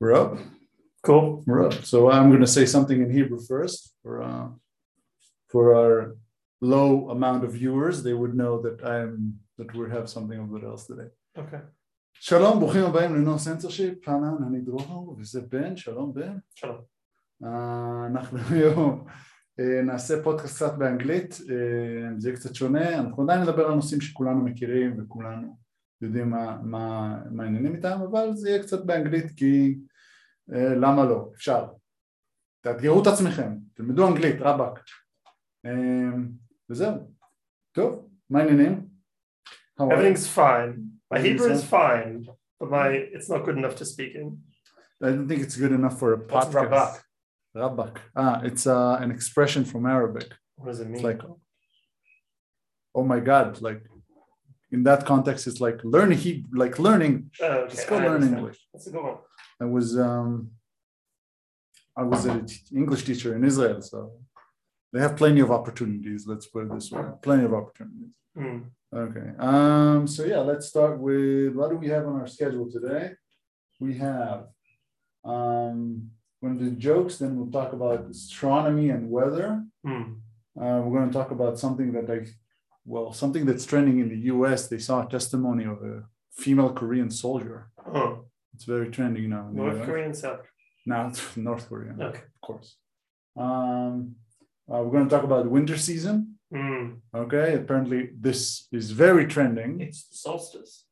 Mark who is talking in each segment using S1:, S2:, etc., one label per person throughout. S1: We're up.
S2: Cool.
S1: We're up. So I'm going to say something in Hebrew first for uh, for our low amount of viewers. They would know that I'm that we have something of else today.
S2: Okay.
S1: שלום, ברוכים הבאים ל-No Censorship, אהלן, אני דרור, וזה בן, שלום בן.
S2: שלום.
S1: אה, אנחנו היום אה, נעשה פודקאסט קצת באנגלית, אה, זה יהיה קצת שונה, אנחנו עדיין נדבר על נושאים שכולנו מכירים וכולנו יודעים מה- מה מה העניינים איתם, אבל זה יהיה קצת באנגלית כי אה, למה לא, אפשר. תאתגרו את עצמכם, תלמדו אנגלית, רבאק. אה, וזהו, טוב, מה העניינים? How are you?
S2: Everything's fine. My
S1: Everything's
S2: Hebrew is
S1: fine.
S2: fine, but my it's not good enough to speak in.
S1: I don't think it's good enough for a
S2: What's
S1: podcast. Rabak. Ah, it's uh, an expression from Arabic.
S2: What does it mean?
S1: It's like, oh my God! Like in that context, it's like learning Hebrew, like learning.
S2: oh, okay,
S1: Just go
S2: I
S1: learn
S2: understand.
S1: English.
S2: That's a good one.
S1: I was um, I was an English teacher in Israel, so they have plenty of opportunities. Let's put it this way: plenty of opportunities.
S2: Hmm.
S1: Okay. Um, so yeah, let's start with what do we have on our schedule today? We have um, going to do jokes, then we'll talk about astronomy and weather.
S2: Hmm.
S1: Uh, we're going to talk about something that I, well, something that's trending in the US. They saw a testimony of a female Korean soldier.
S2: Oh,
S1: It's very trending now. in the
S2: North
S1: US.
S2: Korean South.
S1: Now it's North Korea, of
S2: Okay.
S1: course. Um, uh, we're going to talk about winter season.
S2: Hmm.
S1: Okay. Apparently, this is very trending.
S2: It's the solstice.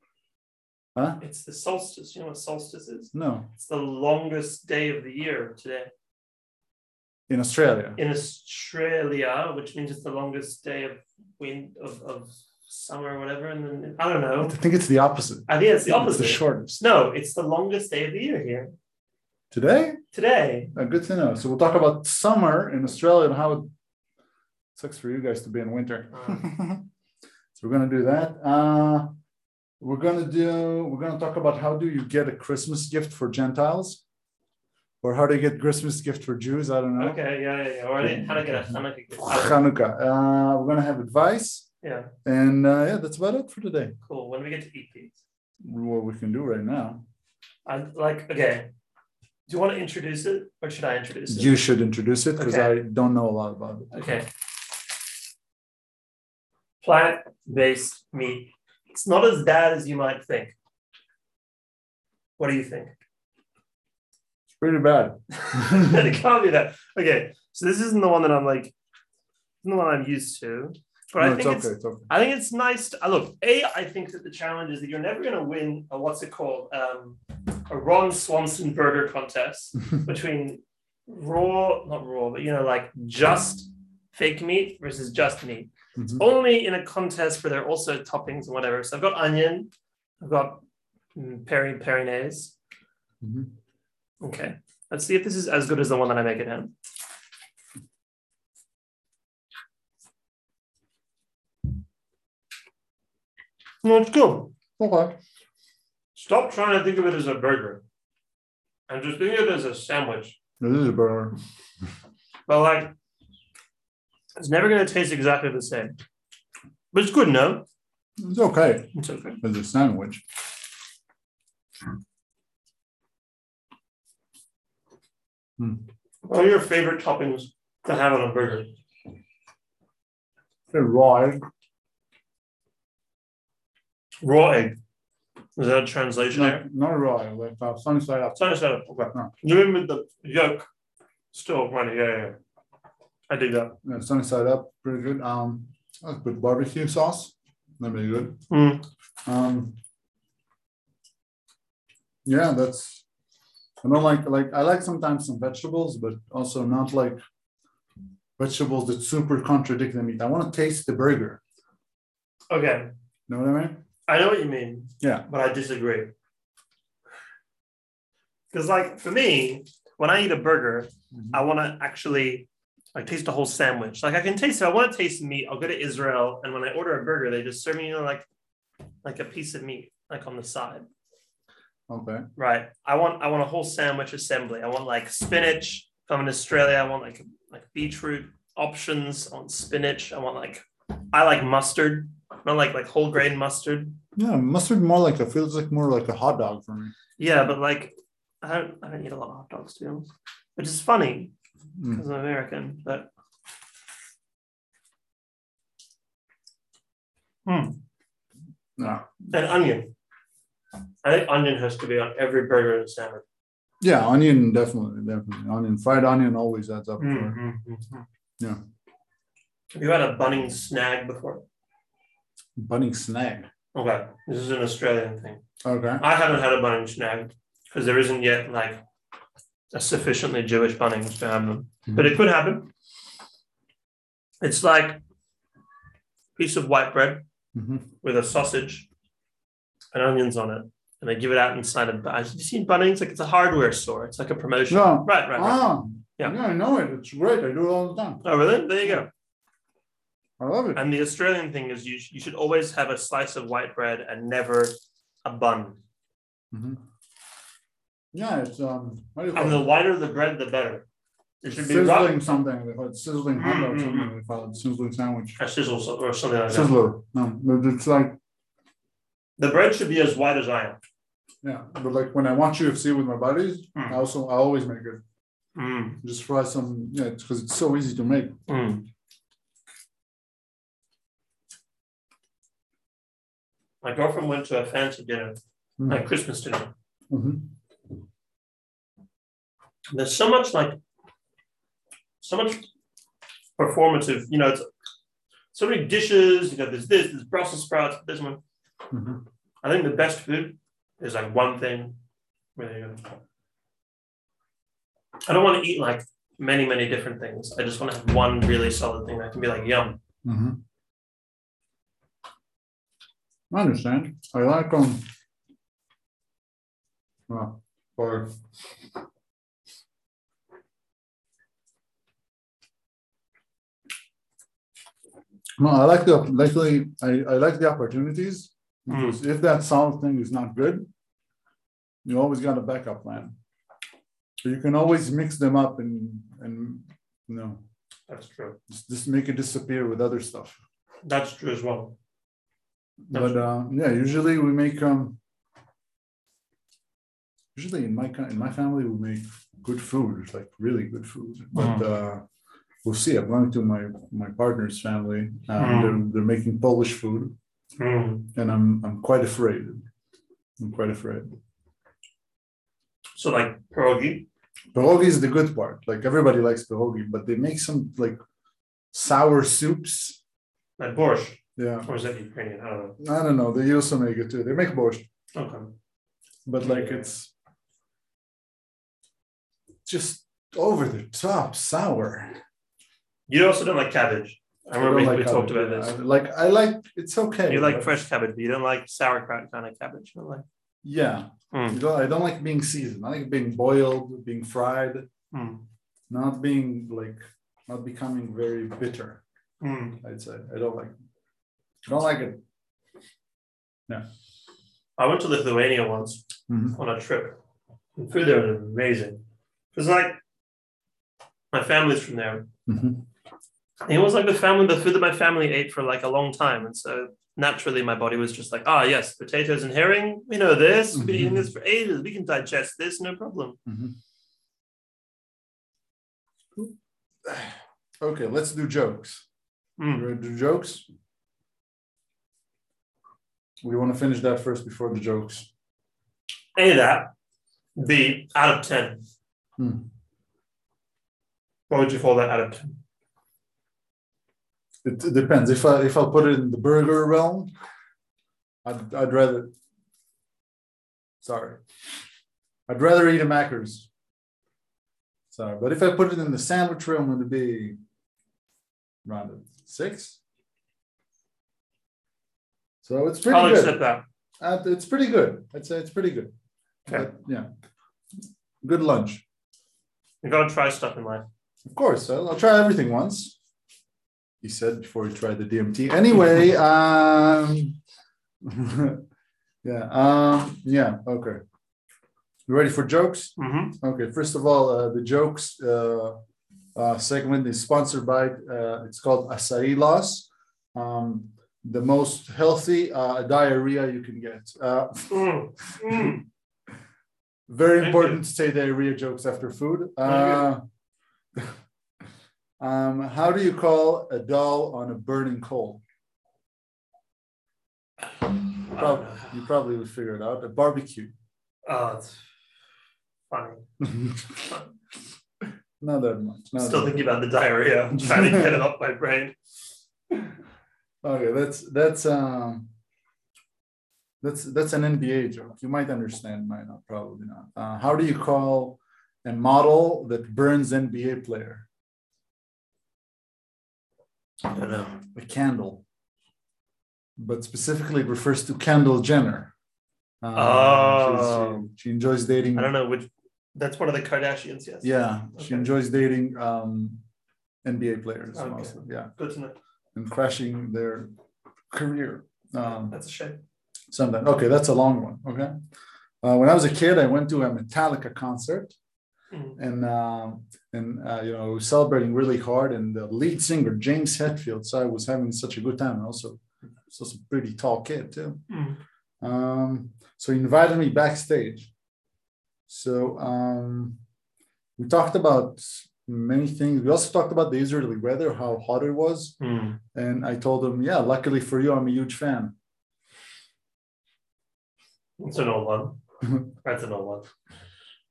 S1: Huh?
S2: It's the solstice. You know what solstice is?
S1: No.
S2: It's the longest day of the year today.
S1: in Australia.
S2: In Australia, which means it's the longest day of wind of, of summer or whatever, and then I don't
S1: I
S2: know.
S1: think it's the opposite.
S2: I think it's the
S1: It's
S2: opposite.
S1: the shortest.
S2: No, it's the longest day of the year here
S1: Today?
S2: today.
S1: Uh, good to know. So we'll talk about summer in Australia and how it sucks for you guys to be in winter.
S2: Uh,
S1: So we're gonna do that. Uh, we're gonna do. We're gonna talk about how do you get a Christmas gift for Gentiles, or how do you get Christmas gift for Jews? I don't know.
S2: okay, yeah, yeah, yeah. Or I- how to get a Hanukkah gift. I don't-
S1: Chanukah. Uh, we're gonna have advice,
S2: Yeah,
S1: and uh, yeah, that's about it for today.
S2: cool. When do we get to eat these?
S1: What we can do right now.
S2: I like okay. Do you want to introduce it or should I introduce it?
S1: You should introduce it because
S2: Okay.
S1: I don't know a lot about it.
S2: Okay. Plant based meat. It's not as bad as you might think. What do you think?
S1: It's pretty bad.
S2: it can't be that. Okay. So this isn't the one that I'm like, isn't the one I'm used to. But I
S1: no,
S2: think
S1: it's
S2: it's,
S1: okay. It's, okay.
S2: I think it's nice to uh, look. A, I think that the challenge is that you're never going to win a what's it called um, a Ron Swanson burger contest between raw, not raw, but you know, like just fake meat versus just meat.
S1: Mhm.
S2: Only in a contest where there are also toppings and whatever. So I've got onion, I've got mm, peri perinaise.
S1: Mhm.
S2: Okay, let's see if this is as good as the one that I make at home. No, it's good.
S1: Okay.
S2: Stop trying to think of it as a burger and just think of it as a sandwich.
S1: This is a burger.
S2: But like, it's never going to taste exactly the same. But it's good, no?
S1: It's okay
S2: It's okay.
S1: as a sandwich.
S2: What are your favorite toppings to have on a burger?
S1: A raw egg.
S2: Raw egg. Is that a translation? error?
S1: Not, not a raw egg, like uh, sunny side up.
S2: It's not a okay.
S1: No.
S2: You mean with the yolk still running? Yeah, yeah, yeah. I do that.
S1: Yeah, uh, sunny side up, pretty good. Um, that's good barbecue sauce. Not really good.
S2: Mm.
S1: Um, yeah, that's. I don't like like I like sometimes some vegetables, but also not like vegetables that super contradict the meat. I want to taste the burger.
S2: Okay,
S1: You know what I mean?
S2: I know what you mean.
S1: Yeah.
S2: but I disagree. Because, like, for me, when I eat a burger, I want to actually like taste the whole sandwich. Like, I can taste it. I want to taste meat. I'll go to Israel, and when I order a burger, they just serve me you know, like like a piece of meat, like on the side.
S1: Okay.
S2: Right. I want I want a whole sandwich assembly. I want like spinach. If I'm in Australia, I want like like beetroot options. I want spinach. I want like I like mustard. Not like like whole grain mustard.
S1: Yeah, mustard more like a feels like more like a hot dog for me.
S2: Yeah, but like I don't I don't eat a lot of hot dogs to be honest, which is funny because I'm American, but
S1: Yeah.
S2: an onion. I think onion has to be on every burger and sandwich.
S1: yeah, onion definitely, definitely. Onion, fried onion always adds up.
S2: Hmm.
S1: to it. Mm. Yeah.
S2: Have you had a bunning snag before?
S1: Bunning snag.
S2: Okay, this is an Australian thing.
S1: Okay.
S2: I haven't had a bunning snag because there isn't yet like a sufficiently Jewish bunnings to have them, but it could happen. It's like piece of white bread
S1: Mhm.
S2: with a sausage and onions on it, and they give it out inside a. Have you seen Bunnings? Like it's a hardware store. It's like a promotion.
S1: No.
S2: Right, right, right.
S1: Ah,
S2: Yeah.
S1: yeah, I know it. It's great. I do it all the time.
S2: Oh, really? There you go.
S1: I love it.
S2: And the Australian thing is you you should always have a slice of white bread and never a bun.
S1: Mhm. Yeah, it's um, what do you
S2: And
S1: call
S2: the
S1: it?
S2: whiter the bread, the better. It should be
S1: sizzling
S2: rough.
S1: something. They call it sizzling hot dog.
S2: Mm, mm,
S1: Something they call it sizzling sandwich.
S2: A sizzle so- or something like that.
S1: Sizzler. No, but it's like
S2: The bread should be as white as I am.
S1: yeah, but like when I watch UFC with my buddies,
S2: Mm.
S1: I also I always make it.
S2: Mm,
S1: Just fry some. Yeah, because it's so easy to make.
S2: mm. My girlfriend went to a fancy dinner,
S1: Mm.
S2: like Christmas dinner,
S1: Mhm.
S2: there's so much like so much performative you know it's so many dishes you know there's this there's brussels sprouts this one
S1: Mhm.
S2: i think the best food is like one thing really i don't want to eat like many many different things i just want to have one really solid thing that can be like yum
S1: Mhm. I understand. I like um. Well, or no, I like the likely. I I like the opportunities because if that solid thing is not good, you always got a backup plan. So you can always mix them up and and you know
S2: that's true
S1: just, just make it disappear with other stuff.
S2: that's true as well
S1: But uh, yeah, usually we make um. Usually in my co- in my family we make good food, like really good food. But uh, we'll see. I'm going to my my partner's family. Um,
S2: Mm.
S1: they're, they're making Polish food,
S2: Mm.
S1: and I'm I'm quite afraid. I'm quite afraid.
S2: so like pierogi
S1: Pierogi is the good part. Like everybody likes pierogi, but they make some like sour soups.
S2: like borscht
S1: Yeah,
S2: or is that ukrainian i don't
S1: I don't know. They also make it too. They make borscht.
S2: know okay
S1: but like
S2: Yeah.
S1: it's just over the top sour.
S2: you also don't like cabbage i remember
S1: don't
S2: we,
S1: like
S2: we
S1: how
S2: talked
S1: it-
S2: about
S1: yeah,
S2: this
S1: I- like I like it's okay.
S2: You like
S1: but-
S2: fresh cabbage, but you don't like sauerkraut kind of cabbage. You don't like.
S1: Yeah,
S2: Mm.
S1: you don't, I don't like being seasoned. I like being boiled, being fried,
S2: Mm.
S1: not being like not becoming very bitter.
S2: Mm.
S1: I'd say I don't like. I don't like it.
S2: I went to Lithuania once
S1: Mhm.
S2: on a trip. The food there was amazing. Because like my family's from there.
S1: Mhm.
S2: And it was like the family, the food that my family ate for like a long time, and so naturally my body was just like, ah, yes, potatoes and herring. We know this. We've been eating this for ages. We can digest this, no problem.
S1: Okay, let's do jokes. You
S2: Mm.
S1: ready to do jokes? We want to finish that first before the jokes.
S2: A that, B out of ten.
S1: Mm.
S2: What would you call that out of ten?
S1: It depends. If I if I put it in the burger realm, I'd, I'd rather. Sorry, I'd rather eat a Macca's. Sorry, but if I put it in the sandwich realm, it'd be around a six. So it's pretty
S2: I'll accept
S1: good.
S2: that.
S1: Uh, it's pretty good. I'd say it's pretty good.
S2: Okay.
S1: But, yeah, good lunch.
S2: You gotta try stuff in life.
S1: Of course, I'll, I'll try everything once. He said before he tried the DMT. Anyway, um, yeah, um, yeah, okay. You ready for jokes?
S2: Mm-hmm.
S1: Okay, first of all, uh, the jokes uh, uh, segment is sponsored by. Uh, it's called Acai Loss, um, the most healthy uh, diarrhea you can get. Uh,
S2: Mm, mm.
S1: Very
S2: Thank
S1: important
S2: you.
S1: to say diarrhea jokes after food. Uh,
S2: Very
S1: um, how do you call a doll on a burning coal?
S2: I don't
S1: Probably,
S2: know.
S1: you probably would figure it out. A barbecue.
S2: Oh, it's funny.
S1: not that much. Not
S2: Still
S1: that
S2: thinking about the diarrhea. I'm trying to get it off my brain.
S1: Okay, that's that's um that's that's an NBA joke. You might understand, might not, probably not. Uh, how do you call a model that burns NBA player?
S2: I don't know.
S1: A candle. But specifically it refers to Kendall Jenner. Um,
S2: Oh.
S1: she, she enjoys dating.
S2: I don't know which. That's one of the Kardashians. Yes.
S1: Yeah, she
S2: Okay.
S1: enjoys dating um, NBA players
S2: Okay.
S1: mostly. Yeah,
S2: Good to know.
S1: and crashing their career. Um,
S2: That's a shame.
S1: Sometimes. Okay, that's a long one. Okay. Uh, when I was a kid, I went to a Metallica concert,
S2: Mm.
S1: and um, and uh, you know we were celebrating really hard. And the lead singer James Hetfield, so I was having such a good time. and Also, was also a pretty tall kid too.
S2: Mm.
S1: Um, so he invited me backstage. So um, we talked about many things. We also talked about the Israeli weather, how hot it was,
S2: Mm.
S1: and I told him, yeah, luckily for you, I'm a huge fan.
S2: It's an old one. that's an old one.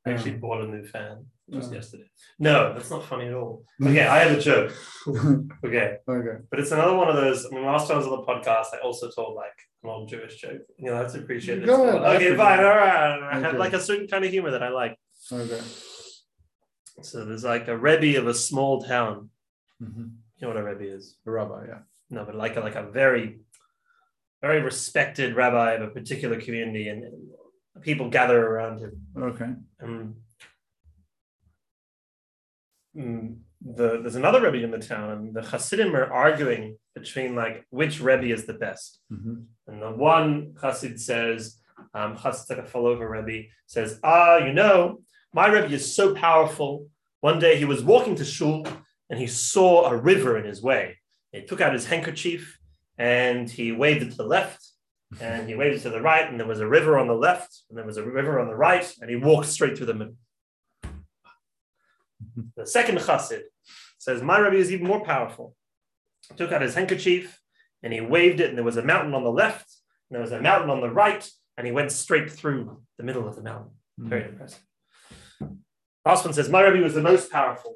S2: I actually
S1: Um,
S2: bought a new fan just
S1: Yeah.
S2: yesterday. No, that's not funny at all. Okay, I have a joke. Okay.
S1: okay.
S2: But it's another one of those. I mean, last time I was on the podcast, I also told like an old Jewish joke. You know, that's appreciated.
S1: Go ahead, I
S2: okay,
S1: forgive
S2: fine,
S1: you.
S2: all right. I have
S1: Okay.
S2: like a certain kind of humor that I like.
S1: Okay.
S2: So there's like a rebbe of a small town.
S1: Mhm.
S2: You know what a rebbe is?
S1: The rabbi, yeah.
S2: No, but like a, like a very, very respected rabbi of a particular community, and, and people gather around him.
S1: Okay.
S2: Um, mm, the, there's another rebbe in the town, and the Hasidim are arguing between like which rebbe is the best.
S1: Mm-hmm.
S2: And the one chassid says, um, chassid like a follower Rebbe, says, ah, you know, my Rebbe is so powerful. One day he was walking to shul and he saw a river in his way. He took out his handkerchief and he waved it to the left and he waved it to the right and there was a river on the left and there was a river on the right and he walked straight through the middle. The second chassid says, my Rebbe is even more powerful. He took out his handkerchief and he waved it, and there was a mountain on the left, and there was a mountain on the right, and he went straight through the middle of the mountain.
S1: Mm-hmm.
S2: Very impressive. Last one says, My Rebbe was the most powerful.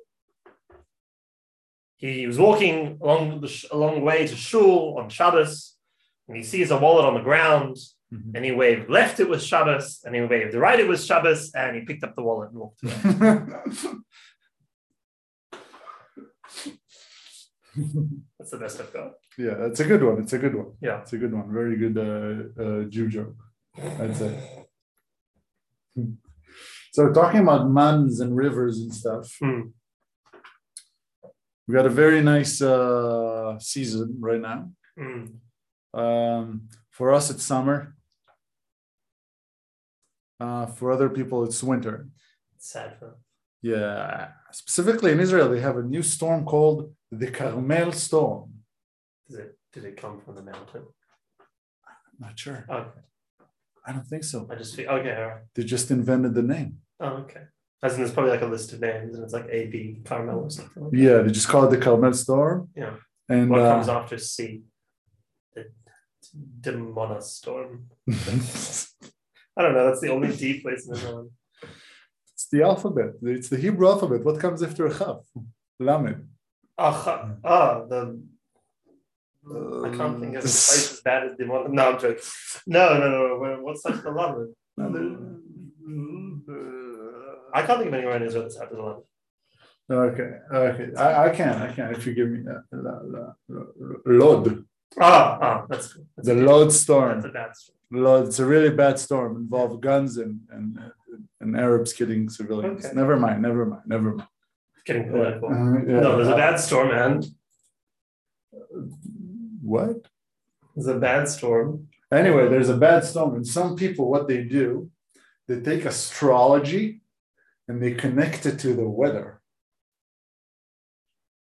S2: He was walking along the sh- along the way to Shul on Shabbos, and he sees a wallet on the ground,
S1: Mhm.
S2: and he waved left, it was Shabbos, and he waved right, it was Shabbos, and he picked up the wallet and walked.
S1: Mm-hmm.
S2: That's the best I've got.
S1: yeah, that's a good one. It's a good one.
S2: Yeah.
S1: It's a good one. Very good uh, uh, Jew joke. That's it. So talking about mountains and rivers and stuff,
S2: Hmm.
S1: we got a very nice uh, season right now.
S2: Mm.
S1: Um, for us, it's summer. Uh, for other people, it's winter.
S2: It's sad for
S1: Yeah, specifically in Israel, they have a new storm called the Carmel storm.
S2: Does it, did it come from the mountain?
S1: Not sure.
S2: Okay.
S1: I don't think so.
S2: I just feel okay. All right.
S1: They just invented the name.
S2: Oh, okay. As in, there's probably like a list of names, and it's like A, B, Carmel or something. Like that.
S1: Yeah, they just call it the Carmel storm.
S2: Yeah.
S1: And
S2: What
S1: uh,
S2: comes after C? The Demona storm.
S1: it's
S2: I don't know. That's the only D place in the world.
S1: the alphabet. It's the Hebrew alphabet. What comes after Chaf? Lamed.
S2: Ah, ah, the. I can't
S1: Um,
S2: think of a place as bad as Demona. No, I'm joking. No, no, no. where- What's such the Lamed?
S1: No, Um,
S2: I can't think of anywhere in Israel that's after the Lamed.
S1: Okay, okay. I, I can, I can. If you give me that. La- la- la- Lod,
S2: Ah, ah, that's good. That's
S1: the
S2: a-
S1: Lod storm.
S2: That's a bad storm.
S1: Well, it's a really bad storm. Involved guns and and and Arabs killing civilians.
S2: Okay.
S1: Never mind. Never mind. Never mind.
S2: Getting
S1: Yeah.
S2: political.
S1: Uh, yeah.
S2: No, there's a bad storm, and
S1: What?
S2: there's a bad storm.
S1: Anyway, there's a bad storm, and some people, what they do, they take astrology, and they connect it to the weather.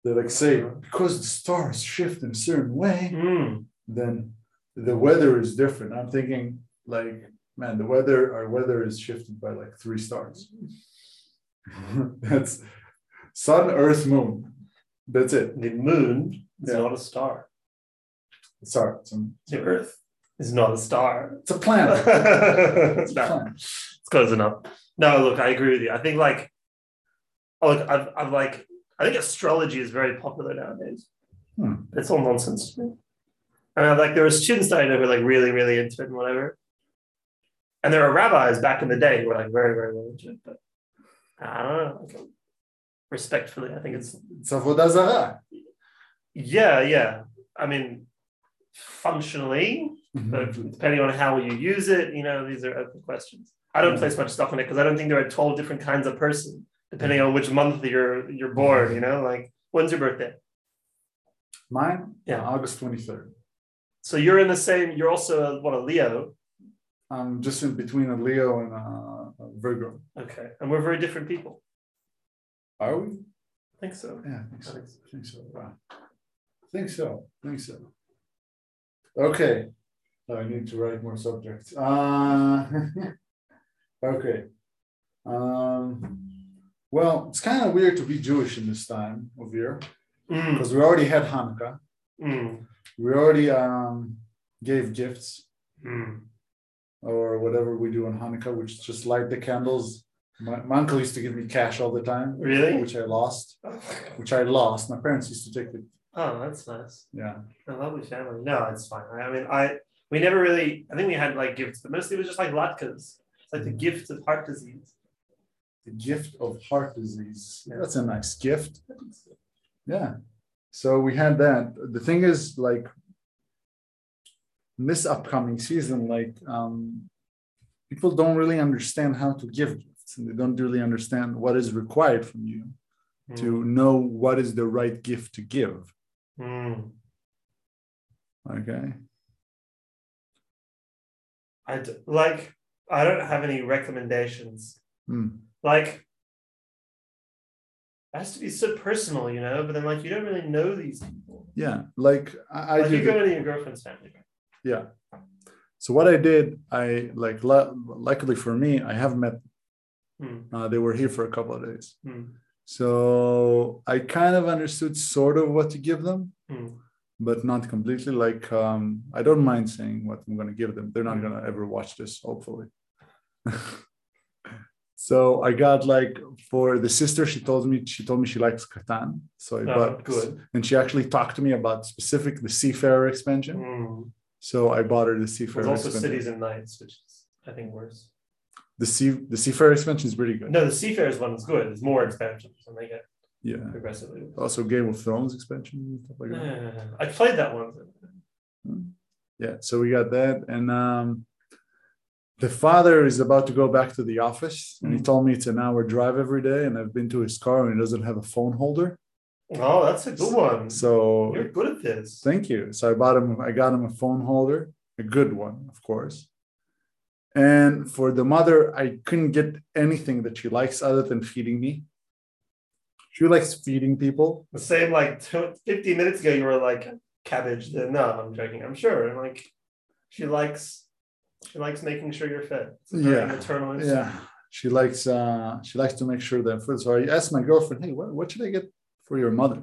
S1: They like say because the stars shift in a certain way,
S2: Mm.
S1: then the weather is different. I'm thinking like man, the weather, our weather is shifted by like three stars. That's sun, earth, moon. That's it.
S2: The moon is
S1: Yeah.
S2: not a star.
S1: Sorry, it's a,
S2: The Earth is not a star.
S1: it's a planet. It's a
S2: no,
S1: planet.
S2: it's close enough. No, look, I agree with you. I think like, oh, look, I've, I've like, I think astrology is very popular nowadays.
S1: Hmm.
S2: It's all nonsense to me. And I, like, there were students that I know who were like really, really into it and whatever. And there were rabbis back in the day who were like very, very well into it. But I don't know. Like, respectfully, I think it's
S1: It's avodah zara.
S2: yeah, yeah. I mean, functionally, but depending on how you use it, you know, these are open questions. I don't place much stuff on it because I don't think there are 12 different kinds of person, depending on which month you're you're born, you know, like when's your birthday?
S1: Mine?
S2: Yeah.
S1: August 23rd.
S2: So you're in the same, you're also a, what a Leo.
S1: I'm just in between a Leo and a, a Virgo.
S2: Okay. And we're very different people.
S1: Are we?
S2: I think so.
S1: Yeah, I think
S2: I
S1: so.
S2: think so.
S1: I think so. Wow. I think so. I think so. Okay. I need to write more subjects. Uh, okay. Um, well, it's kind of weird to be Jewish in this time of year
S2: Mm,
S1: because we already had Hanukkah.
S2: mm,
S1: We already um, gave gifts
S2: mm.
S1: or whatever we do on Hanukkah, which is just light the candles. My, my uncle used to give me cash all the time,
S2: Really?
S1: which I lost,
S2: Oh,
S1: which I lost. My parents used to take it.
S2: that's nice.
S1: Yeah.
S2: A lovely family. No, it's fine. I I mean, I we never really. I think we had like gifts, but mostly it was just like latkes. It's like the gift of heart disease.
S1: the gift of heart disease.
S2: Yeah.
S1: That's a nice gift. Yeah. So we had that. The thing is, like, in this upcoming season, like, um, people don't really understand how to give gifts and they don't really understand what is required from you to know what is the right gift to give.
S2: Mm.
S1: Okay.
S2: I d- like. I don't have any recommendations.
S1: Mm.
S2: Like, it has to be so personal, you know. But then, like, you don't really know these people.
S1: Yeah. Like, I, I
S2: like,
S1: do.
S2: you
S1: the-
S2: go to your girlfriend's family. right?
S1: Yeah. So what I did, I like lu- luckily for me, I have met.
S2: Hmm.
S1: Uh, they were here for a couple of days,
S2: Hmm.
S1: so I kind of understood sort of what to give them,
S2: Hmm.
S1: but not completely. Like um, I don't mind saying what I'm going to give them. They're not
S2: Hmm.
S1: going to ever watch this, hopefully. so I got like for the sister. She told me she told me she likes Catan, so I
S2: Oh,
S1: bought
S2: good.
S1: and she actually talked to me about specific the Seafarer expansion.
S2: Mm.
S1: So I bought her the Seafarer.
S2: There's also
S1: expansion.
S2: cities and nights, which is I think worse.
S1: The sea the seafarer expansion is pretty good.
S2: No, the seafarers one is good. There's more expansions, and they get
S1: Yeah.
S2: progressively.
S1: Also Game of Thrones expansion and stuff like that.
S2: Yeah, I played that one.
S1: Yeah. So we got that. And um the father is about to go back to the office and he
S2: Mhm.
S1: told me it's an hour drive every day and I've been to his car and he doesn't have a phone holder.
S2: Oh, that's a good one.
S1: So
S2: You're good at this.
S1: thank you. So I bought him I got him a phone holder, a good one, of course. And for the mother, I couldn't get anything that she likes other than feeding me. She likes feeding people.
S2: The same like t- 15 minutes ago, you were like cabbage. Then no, I'm joking. I'm sure. And like, she likes, she likes making sure you're fed. It's a very
S1: Yeah.
S2: maternal instinct.
S1: yeah she likes uh she likes to make sure that food so i asked my girlfriend hey what, what should i get for your mother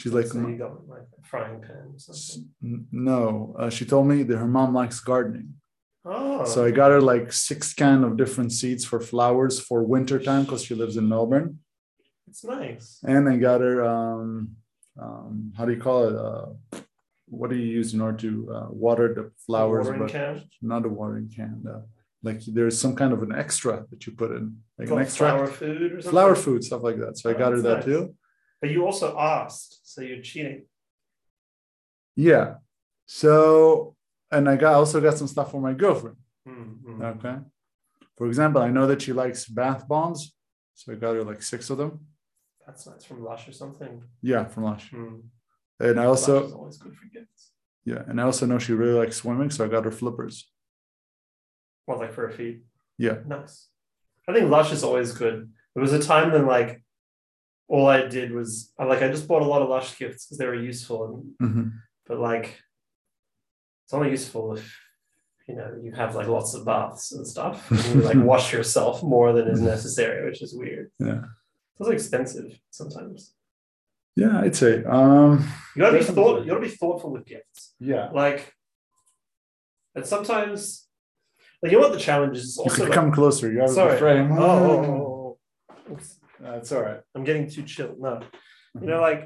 S1: she's like
S2: So
S1: "M-
S2: you got like a frying pan or
S1: s-
S2: something.
S1: n- no uh, she told me that her mom likes gardening
S2: Oh,
S1: so i got her like six can of different seeds for flowers for winter time because she lives in melbourne
S2: it's nice.
S1: and i got her um, um how do you call it uh what do you use in order to uh, water the flowers
S2: Watering
S1: but
S2: can.
S1: not a watering can uh, like there's some kind of an extra that you put in like an
S2: Got
S1: extract
S2: flower food or something.
S1: flower food stuff like that so i
S2: Oh,
S1: got her that
S2: that's nice.
S1: too
S2: But you also asked, so you're cheating.
S1: yeah so and i got also got some stuff for my girlfriend
S2: Mm, mm.
S1: okay for example i know that she likes bath bombs so i got her like six of them
S2: That's nice from Lush or something.
S1: yeah from lush
S2: Mm.
S1: and i
S2: Lush is
S1: also
S2: always good for gifts.
S1: yeah and i also know she really likes swimming so i got her flippers
S2: Well, like for a feed.
S1: Yeah.
S2: Nice. I think Lush is always good. There was a time when like all I did was I like I just bought a lot of Lush gifts Mm-hmm. because they were useful, and,
S1: Mhm.
S2: but like it's only useful if you know, you have like lots of baths and stuff. And you like wash yourself more than is necessary, which is weird.
S1: Yeah.
S2: Those are expensive sometimes.
S1: Yeah, I'd say. Um,
S2: You gotta be
S1: Definitely.
S2: thought you gotta be thoughtful with gifts.
S1: yeah.
S2: Like and sometimes like you know what the challenge is It's
S1: You
S2: also
S1: could
S2: like,
S1: come closer. You have the
S2: Sorry.
S1: frame.
S2: oh, oh, oh, oh. Oops.
S1: That's all right.
S2: I'm getting too chill. No, you know, like,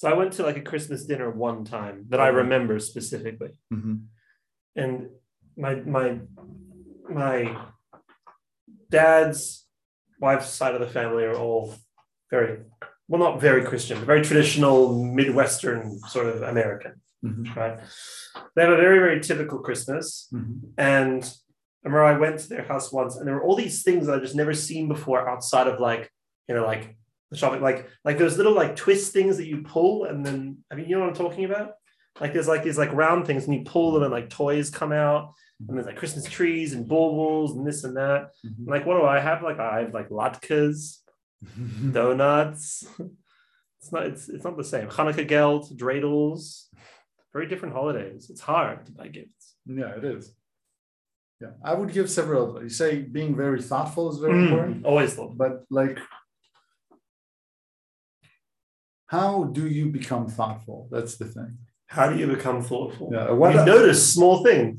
S2: so I went to like a Christmas dinner one time that I
S1: Uh-huh.
S2: remember specifically,
S1: Mhm.
S2: and my my my dad's wife's side of the family are all very well, not very Christian, but very traditional Midwestern sort of American,
S1: Mhm.
S2: right? They have a very very typical Christmas,
S1: Mhm.
S2: and I remember I went to their house once, and there were all these things that I just never seen before outside of like you know like the shopping, like like those little like twist things that you pull, and then I mean you know what I'm talking about. Like there's like these like round things, and you pull them, and like toys come out, and there's like Christmas trees and baubles and this and that. And,
S1: Mm-hmm.
S2: like what do I have? Like I have like latkes,
S1: Mhm.
S2: donuts. It's not it's it's not the same. Hanukkah geld, dreidels, very different holidays. It's hard to buy gifts.
S1: yeah, it is. Yeah, I would give several. You say being very thoughtful is very
S2: Mm.
S1: important.
S2: Always thoughtful.
S1: but like how do you become thoughtful that's the thing
S2: How do you become thoughtful?
S1: yeah what
S2: you notice small things.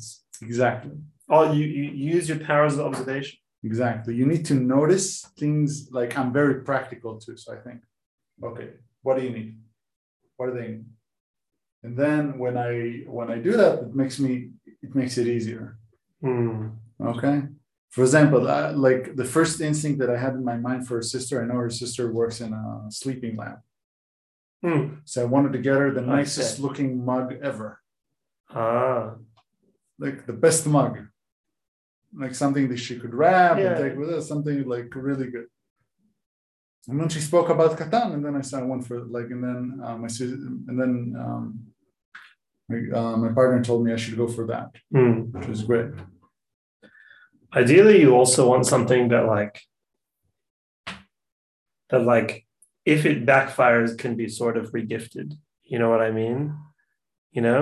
S1: exactly
S2: Oh, you, you use your powers of observation.
S1: exactly you need to notice things like i'm very practical too so i think okay what do you need what do they need and then when i when i do that it makes me it makes it easier Okay. For example, I, like the first instinct that I had in my mind for her sister, I know her sister works in a sleeping lab.
S2: Hmm.
S1: So I wanted to get her the
S2: Okay.
S1: nicest looking mug ever,
S2: Ah,
S1: like the best mug, like something that she could wrap
S2: Yeah.
S1: and take with her, something like really good. And then she spoke about Catan, and then I said I went for it, like, and then uh, my sis- and then um, my, uh, my partner told me I should go for that,
S2: Hmm.
S1: which was great.
S2: ideally, you also want something that like that like if it backfires can be sort of regifted. You know what I mean? You know,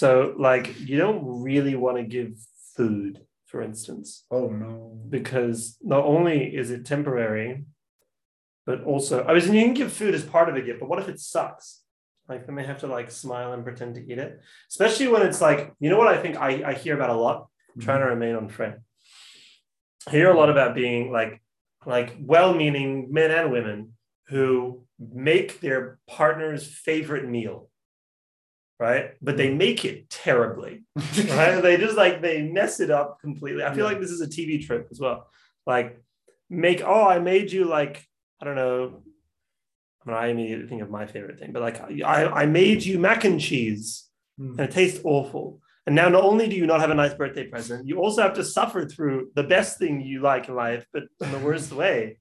S2: so like you don't really want to give food, for instance.
S1: Oh no!
S2: because not only is it temporary, but also I was you can give food as part of a gift, but what if it sucks? Like then they have to like smile and pretend to eat it. Especially when it's like, you know what I think I, I hear about a lot? Trying to remain on trend. I hear a lot about being like like well-meaning men and women who make their partner's favorite meal. Right? But they make it terribly right? They just like they mess it up completely. I feel
S1: Yeah.
S2: like this is a TV trip as well. Like, make oh, I made you like I don't know. I mean, I immediately think of my favorite thing, but like I I made you mac and cheese,
S1: Hmm.
S2: and it tastes awful. And now not only do you not have a nice birthday present, you also have to suffer through the best thing you like in life, but in the worst way.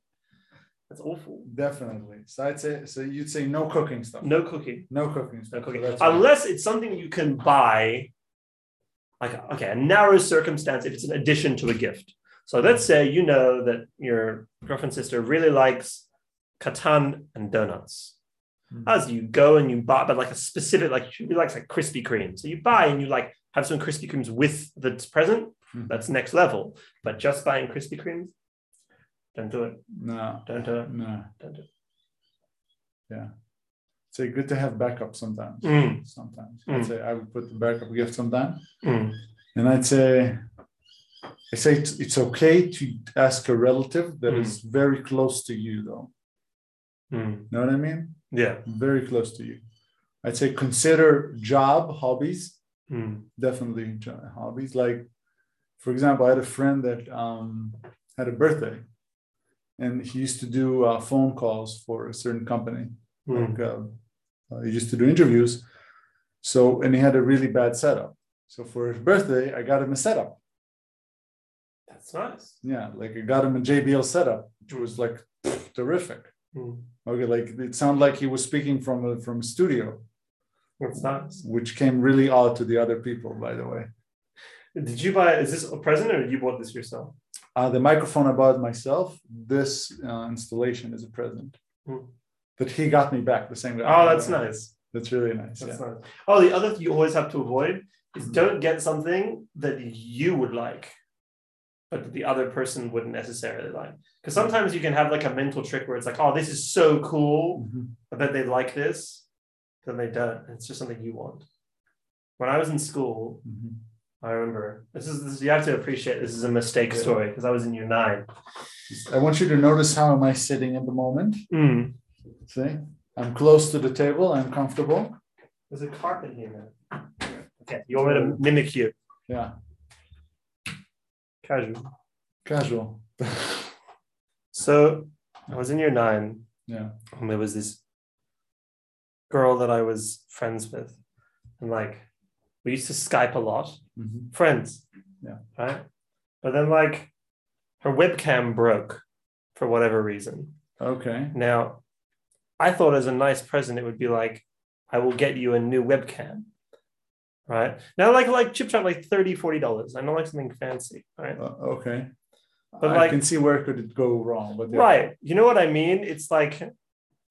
S2: That's awful.
S1: Definitely. So I'd say so you'd say no cooking stuff. No,
S2: No cooking.
S1: cooking stuff.
S2: No cooking.
S1: So that's
S2: Unless it's something you can buy, like okay, a narrow circumstance if it's an addition to a gift. So let's say you know that your girlfriend sister really likes katan and donuts.
S1: Hmm.
S2: As you go and you buy, but like a specific, like she likes like Krispy Kreme. So you buy and you like have some Krispy Kremes with the present.
S1: Hmm.
S2: That's next level. But just buying Krispy Kremes, don't do it.
S1: no,
S2: Don't do it.
S1: no.
S2: Don't do it.
S1: Say good to have backup sometimes.
S2: Mm,
S1: Sometimes
S2: Mm.
S1: I'd say I would put the backup gift sometime,
S2: mm,
S1: and I'd say I say it's, it's okay to ask a relative that
S2: Mm.
S1: is very close to you, though.
S2: mm.
S1: Know what I mean?
S2: Yeah.
S1: Very close to you. I'd say consider job hobbies
S2: Mm,
S1: definitely enjoy hobbies. Like, for example, I had a friend that um, had a birthday, and he used to do uh, phone calls for a certain company.
S2: mm,
S1: Like, uh, uh, he used to do interviews. So, and he had a really bad setup. So for his birthday, I got him a setup.
S2: That's nice.
S1: Yeah, like I got him a JBL setup, which was like terrific.
S2: Mm,
S1: Okay, like it sounded like he was speaking from a, from a studio,
S2: that's nice.
S1: which came really odd to the other people, by the way.
S2: Did you buy? Is this a present, or you bought this yourself?
S1: Uh, the microphone I bought myself, this uh, installation is a present
S2: Hmm.
S1: that he got me back the same way.
S2: Oh, that's nice.
S1: That's really nice.
S2: That's
S1: yeah. Mm-hmm.
S2: nice. Oh, the other thing you always have to avoid is don't get something that you would like, but that the other person wouldn't necessarily like. Because sometimes you can have like a mental trick where it's like, oh, this is so cool.
S1: Mhm.
S2: I bet they like this. Then they don't. And it's just something you want. When I was in school,
S1: Mhm.
S2: I remember this is this, you have to appreciate this is a mistake story because I was in year nine.
S1: I want you to notice how am I sitting at the moment.
S2: Mm.
S1: See, I'm close to the table. I'm comfortable.
S2: There's a carpet here now. Okay, you want me to mimic you?
S1: Yeah,
S2: Casual.
S1: casual.
S2: So I was in year nine.
S1: Yeah.
S2: And there was this girl that I was friends with. And like we used to Skype a lot.
S1: Mhm.
S2: Friends.
S1: Yeah.
S2: Right? But then like her webcam broke for whatever reason.
S1: Okay.
S2: Now, I thought as a nice present, it would be like, I will get you a new webcam. Right. Now, like like chip shop, like 30 $40. I know like something fancy. Right.
S1: Uh, okay.
S2: But
S1: I
S2: like-
S1: can see where could it go wrong. But yeah.
S2: Right. You know what I mean? It's like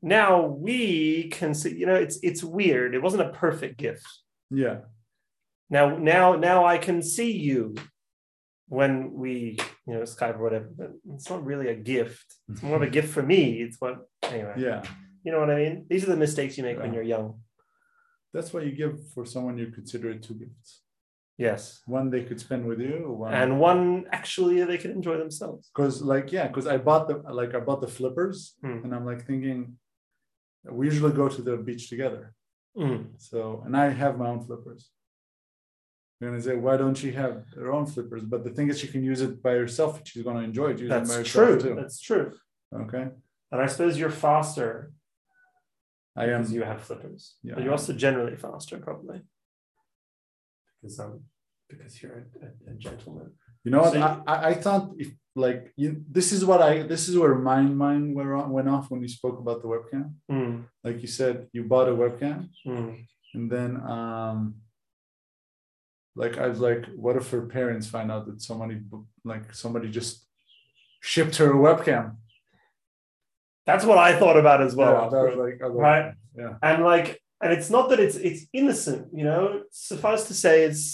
S2: now we can see, you know, it's it's weird. It wasn't a perfect gift.
S1: Yeah.
S2: Now, now, now I can see you when we, you know, Skype or whatever. But it's not really a gift. It's more of a gift for me. It's what anyway.
S1: Yeah.
S2: You know what I mean? These are the mistakes you make when
S1: Yeah.
S2: you're young.
S1: That's what you give for someone you consider two gifts.
S2: Yes.
S1: One they could spend with you. One
S2: and one actually they can enjoy themselves.
S1: because like yeah, because I bought the like I bought the flippers
S2: Mm.
S1: and I'm like thinking we usually go to the beach together. So and I have my own flippers. You're gonna say, why don't she have her own flippers? But the thing is she can use it by herself. She's gonna enjoy it. Use it by
S2: That's
S1: herself
S2: true.
S1: too.
S2: That's true.
S1: Okay.
S2: And I suppose you're faster
S1: I am
S2: because you have flippers,
S1: Yeah.
S2: but you're also generally faster probably because um because you're a, a, a gentleman.
S1: You know what?
S2: So
S1: I, I I thought if like you, this is what I this is where my mind were on, went off when you spoke about the webcam.
S2: Mm,
S1: Like you said, you bought a webcam,
S2: mm.
S1: and then um, like I was like, what if her parents find out that somebody bu- like somebody just shipped her a webcam?
S2: That's what I thought about as well.
S1: yeah, that was like, I was like,
S2: right?
S1: Yeah.
S2: And like, and it's not that it's it's innocent, you know. Suffice to say, it's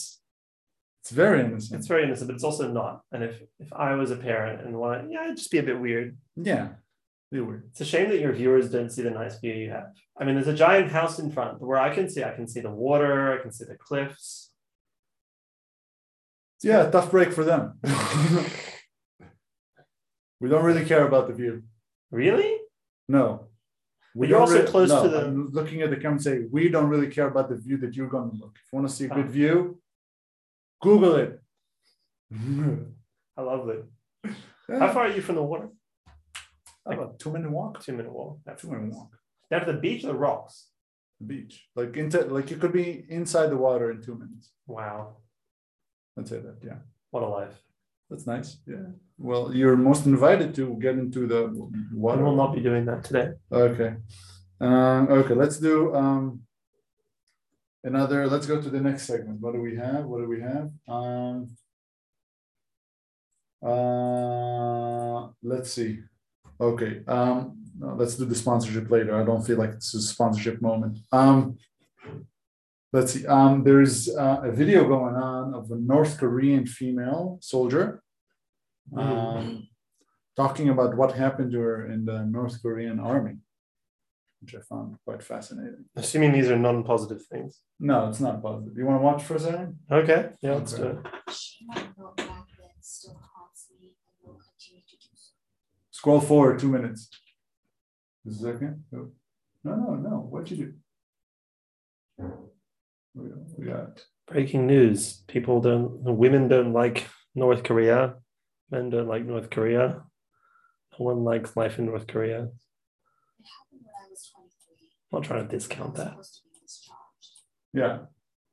S1: It's very innocent.
S2: it's very innocent, but it's also not. And if if I was a parent and wanted, yeah, it'd just be a bit weird.
S1: yeah, they were.
S2: It's a shame that your viewers don't see the nice view you have. I mean, there's a giant house in front where I can see. I can see the water. I can see the cliffs.
S1: Yeah, tough break for them. we don't really care about the view.
S2: Really?
S1: No.
S2: But you're
S1: don't
S2: also close
S1: no,
S2: to the-
S1: I'm looking at the camera and say, we don't really care about the view that you're going to look. If you want to see a
S2: Ah.
S1: good view, Google it.
S2: I love it. How
S1: Yeah,
S2: far are you from the water?
S1: about two minute walk.
S2: Two minute walk. That's
S1: Two minute walk.
S2: Down to the beach or the rocks?
S1: The beach. Like into like you could be inside the water in two minutes.
S2: Wow,
S1: I'd say that. Yeah.
S2: what a life!
S1: That's nice. Yeah. Well, you're most invited to get into the
S2: I
S1: water.
S2: will not be doing that today.
S1: Okay. Um, okay, let's do um, another. Let's go to the next segment. What do we have? What do we have? Um, uh, let's see. Okay. Um, no, let's do the sponsorship later. I don't feel like this is a sponsorship moment. Um, let's see. Um, there's uh, a video going on of a North Korean female soldier um, talking about what happened to her in the North Korean army, which I found quite fascinating.
S2: Assuming these are non-positive things.
S1: No, it's not positive. You want to watch for a second?
S2: Okay. Yeah, let's do it.
S3: She might not like it, still haunts me, and will continue to do so.
S1: Scroll forward two minutes. A second. No, no, no. What'd you do? We we got
S2: Breaking news: People don't. Women don't like North Korea. Men don't like North Korea. No one likes life in North Korea.
S3: It happened when I was 23.
S2: I'm not trying to
S3: I was
S2: discount that.
S3: supposed to be discharged.
S1: yeah.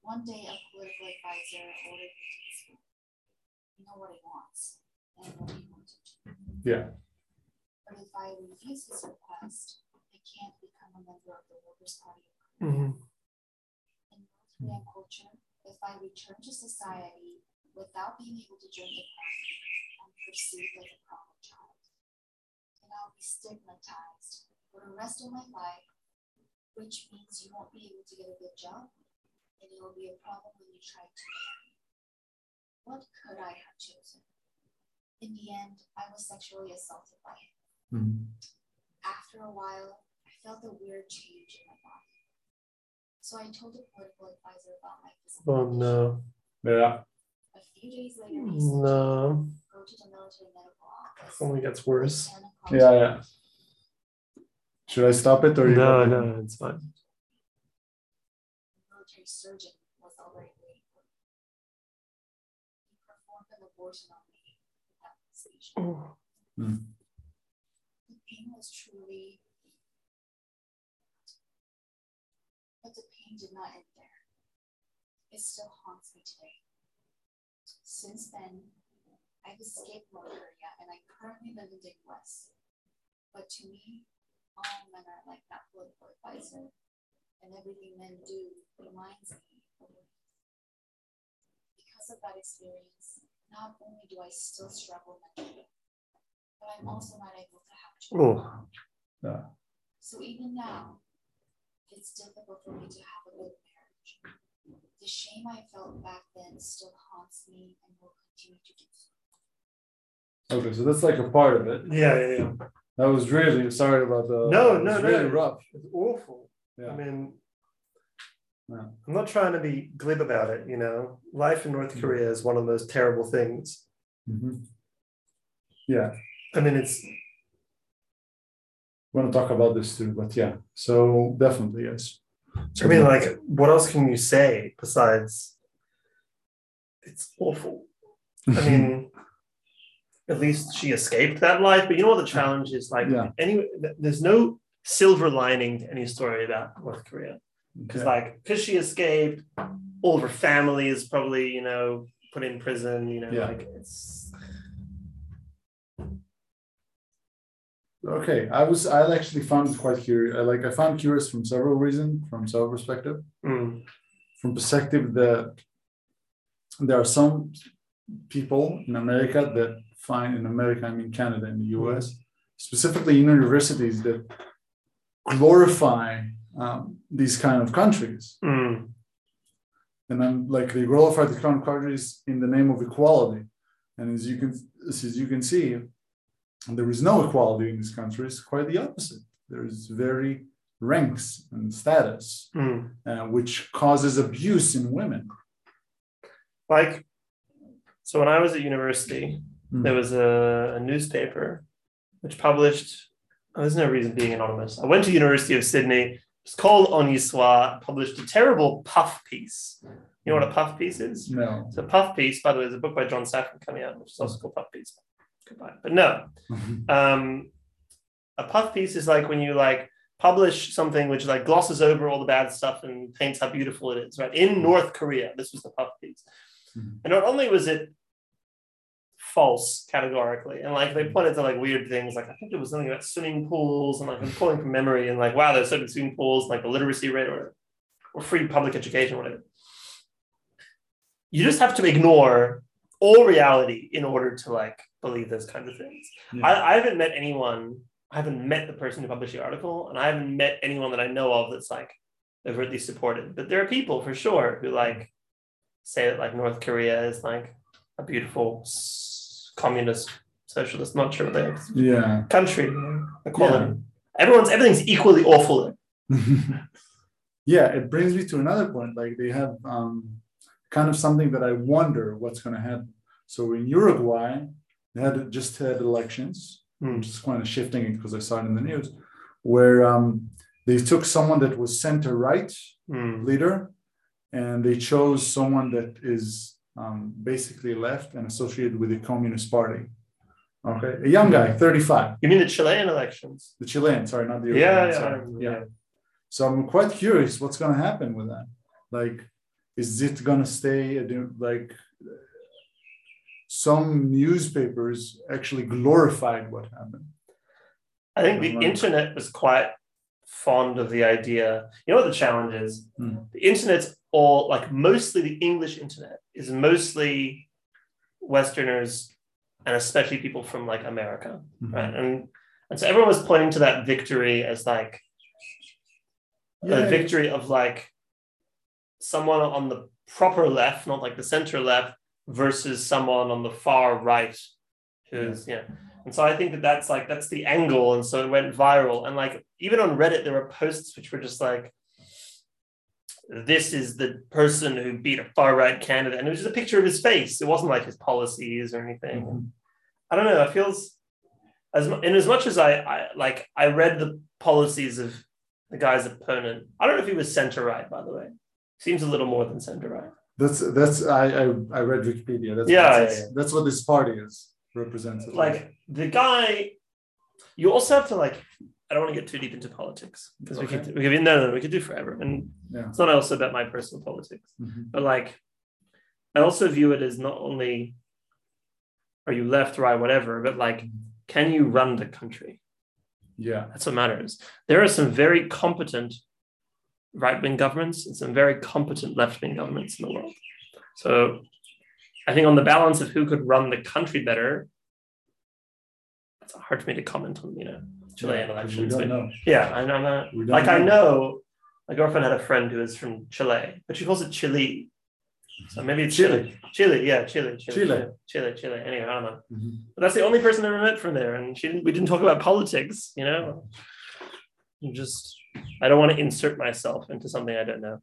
S3: One day, a political advisor ordered me to disappear. You know what he wants, and what he wanted to.
S1: Yeah.
S3: But if I refuse his request, I can't become a member of the Workers' Party of Korea.
S2: Mhm.
S3: In North Korean culture, if I return to society without being able to join the party, I'm perceived as a problem child. And I'll be stigmatized for the rest of my life, which means you won't be able to get a good job, and it will be a problem when you try to learn. What could I have chosen? In the end, I was sexually assaulted by him.
S2: Mm-hmm.
S3: After a while, I felt a weird change in my body. So I told the political advisor about my physical
S2: Oh
S3: condition.
S2: no.
S1: Yeah.
S3: A few days later, he said,
S2: No.
S3: go to the military medical
S2: It
S3: office.
S2: only gets worse.
S3: and a
S1: Yeah, yeah. Should I stop it or you
S2: No, no, it's fine.
S3: the military surgeon was already waiting for me. He performed an abortion on me without anesthesia. The pain was truly. But the pain did not end there. It still haunts me today. Since then, I've escaped North Korea and I currently live in the US. But to me, all men are like that political advisor, and everything men do reminds me of women. Because of that experience, not only do I still struggle mentally, but I'm also not able to have children.
S2: Oh.
S3: So even now, it's difficult for me to have a good marriage. The shame I felt back then still haunts me and will continue to do so.
S1: Okay, so that's like a part of it.
S2: Yeah, yeah, yeah.
S1: That was really sorry about the
S2: No,
S1: it
S2: no,
S1: was
S2: no.
S1: really rough.
S2: It's awful.
S1: Yeah.
S2: I mean,
S1: Yeah.
S2: I'm not trying to be glib about it, you know. Life in North
S1: Mhm.
S2: Korea is one of those terrible things.
S1: Mhm.
S2: I mean, it's
S1: We want to talk about this too, but yeah. So definitely yes.
S2: I mean,
S1: Mm.
S2: like, what else can you say besides it's awful? I mean, at least she escaped that life. But you know what the challenge is? Like,
S1: Yeah.
S2: any there's no silver lining to any story about North Korea. Because
S1: Okay.
S2: like, because she escaped, all of her family is probably you know put in prison. You know,
S1: Yeah.
S2: like it's
S1: Okay, I was I actually found it quite curious. I like I found curious from several reasons, from several perspective.
S2: mm,
S1: From perspective that there are some people in America that find in America, I mean Canada and the US, specifically in universities that glorify um, these kind of countries.
S2: mm,
S1: And then like they glorify the kind of countries in the name of equality. And as you can as you can see, there is no equality in these countries, quite the opposite. There is very ranks and status,
S2: mm.
S1: uh, which causes abuse in women.
S2: like. So when I was at university,
S1: Mm.
S2: there was a, a newspaper which published oh, there's no reason being anonymous i went to university of sydney it's called oniswa published a terrible puff piece you know what a puff piece is
S1: No.
S2: it's a puff piece by the way there's a book by john safran coming out which is also called puff piece goodbye but no um, a puff piece is like when you like publish something which like glosses over all the bad stuff and paints how beautiful it is right in north korea this was the puff piece
S1: Mhm.
S2: and not only was it false categorically and like they pointed to like weird things like i think there was something about swimming pools and like i'm calling from memory and like wow there's certain swimming pools like the literacy rate or, or free public education or whatever you just have to ignore all reality in order to like believe those kinds of things
S1: Yeah.
S2: I, I haven't met anyone. I haven't met the person who published the article, and I haven't met anyone that I know of that's like overtly supported. But there are people for sure who like say that like North Korea is like a beautiful s- communist socialist, not sure what they
S1: yeah.
S2: country you know, equality. Everyone's everything's equally awful. there.
S1: yeah, it brings me to another point. Like they have um, kind of something that I wonder what's going to happen. So in Uruguay, they had just had elections. I'm just kind of shifting it because I saw it in the news, where um, they took someone that was center right Hmm.
S2: Mm.
S1: leader, and they chose someone that is um, basically left and associated with the Communist Party. Okay, a young guy, 35,
S2: You mean the Chilean elections?
S1: the Chilean, sorry, not the
S2: Yeah,
S1: Uruguayan,
S2: yeah,
S1: sorry.
S2: I-
S1: yeah. So I'm quite curious what's going to happen with that. Like, is it going to stay a di- like? Some newspapers actually glorified what happened.
S2: I think the
S1: Right.
S2: internet was quite fond of the idea. You know what the challenge is?
S1: Mm.
S2: The internet's all like mostly the English internet is mostly Westerners and especially people from like America, right? And and so everyone was pointing to that victory as like a
S1: Yeah.
S2: victory of like someone on the proper left, not like the center left, versus someone on the far right, who's yeah. And so I think that that's like that's the angle, and so it went viral. And like even on Reddit, there were posts which were just like, "This is the person who beat a far right candidate," and it was just a picture of his face. It wasn't like his policies or anything.
S1: Mhm.
S2: I don't know. It feels as mu- in as much as I, I like I read the policies of the guy's opponent. I don't know if he was center right, by the way. Seems a little more than center right.
S1: That's that's I I, I read Wikipedia. That's,
S2: Yeah,
S1: that's,
S2: yeah, yeah.
S1: that's what this party is represents. at least.
S2: Like the guy, you also have to like. I don't want to get too deep into politics because we
S1: Okay.
S2: could we could be, no, no no we could do forever and
S1: Yeah.
S2: it's not also about my personal politics.
S1: Mhm.
S2: but like i also view it as not only are you left right whatever but like
S1: Mm-hmm.
S2: can you run the country
S1: yeah,
S2: that's what matters there are some very competent right-wing governments and some very competent left-wing governments in the world so i think on the balance of who could run the country better it's hard for me to comment on you know chilean
S1: Yeah, 'cause we
S2: elections
S1: don't
S2: but-
S1: know.
S2: yeah i know that
S1: We don't
S2: like I
S1: know.
S2: know my girlfriend had a friend who was from Chile, but she calls it Chile. So maybe it's Chile. Chile, yeah, Chile, Chile,
S1: Chile.
S2: Chile, Chile. Chile. Anyway, I don't know.
S1: Mhm.
S2: But that's the only person I ever met from there, and she didn't, we didn't talk about politics. You know, I'm just I don't want to insert myself into something I don't know.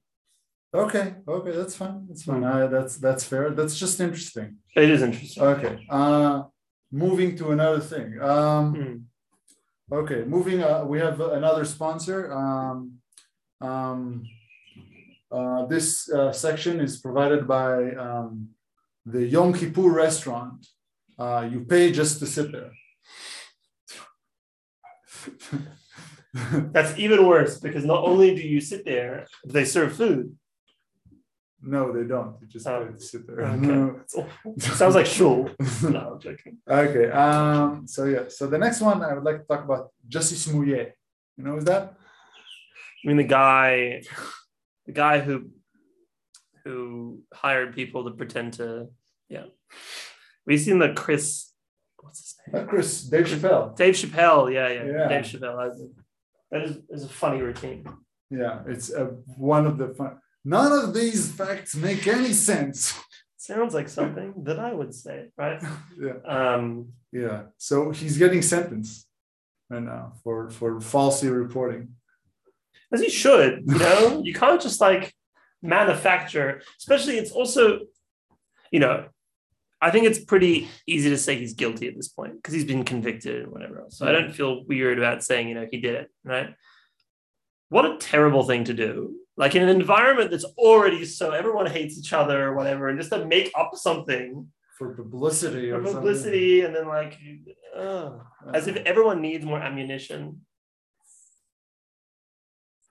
S1: Okay, okay, that's fine. That's fine. Uh, that's that's fair. That's just interesting.
S2: But it is interesting.
S1: Okay. Uh, moving to another thing. Um,
S2: Mm.
S1: okay, moving. Uh, we have another sponsor. Um, um, uh, this uh, section is provided by um, the Yom Kippur restaurant. Uh, you pay just to sit there.
S2: That's even worse because not only do you sit there, they serve food.
S1: no, they don't. You just
S2: Oh,
S1: pay to sit there.
S2: okay. It's awful. Sounds like shul.
S1: No.
S2: No, I'm joking.
S1: Okay. Um, so yeah. So the next one I would like to talk about Justice Mouillet. You know who's that?
S2: I mean the guy, the guy who who hired people to pretend to yeah. We've seen the Chris, what's his name?
S1: Not Uh, Chris Dave Chappelle.
S2: Dave Chappelle. Yeah, yeah,
S1: Yeah.
S2: Dave Chappelle. I- That is, is a funny routine.
S1: Yeah, it's uh one of the fun. None of these facts make any sense.
S2: Sounds like something that I would say, right?
S1: Yeah,
S2: Um,
S1: yeah. So he's getting sentenced right now for for falsely reporting.
S2: as you should, you know, you can't just like manufacture, especially it's also, you know, I think it's pretty easy to say he's guilty at this point because he's been convicted and whatever else. So I don't feel weird about saying, you know, he did it, right? What a terrible thing to do. Like in an environment that's already so everyone hates each other or whatever, and just to make up something
S1: For publicity
S2: for
S1: or something.
S2: publicity and then like, ugh.
S1: Uh,
S2: as if everyone needs more ammunition.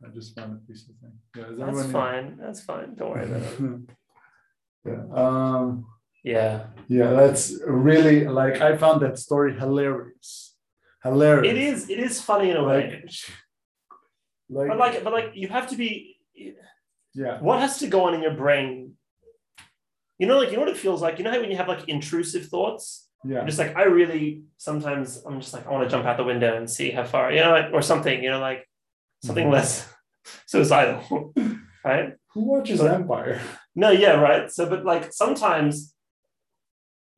S1: I just found a piece of thing. Yeah, is
S2: That's
S1: everyone-
S2: fine. That's fine. Don't worry about it.
S1: yeah. Um,
S2: Yeah.
S1: Yeah, that's really like I found that story hilarious. Hilarious.
S2: It is. It is funny in a way.
S1: Like,
S2: But like, but like, you have to be.
S1: yeah,
S2: What has to go on in your brain? You know, like you know what it feels like. You know how when you have like intrusive thoughts,
S1: yeah,
S2: I'm just like I really sometimes I'm just like I want to jump out the window and see how far, you know, like, or something. You know, like something
S1: Mhm.
S2: less suicidal, right?
S1: Who watches Empire?
S2: No, yeah, right. So, but like sometimes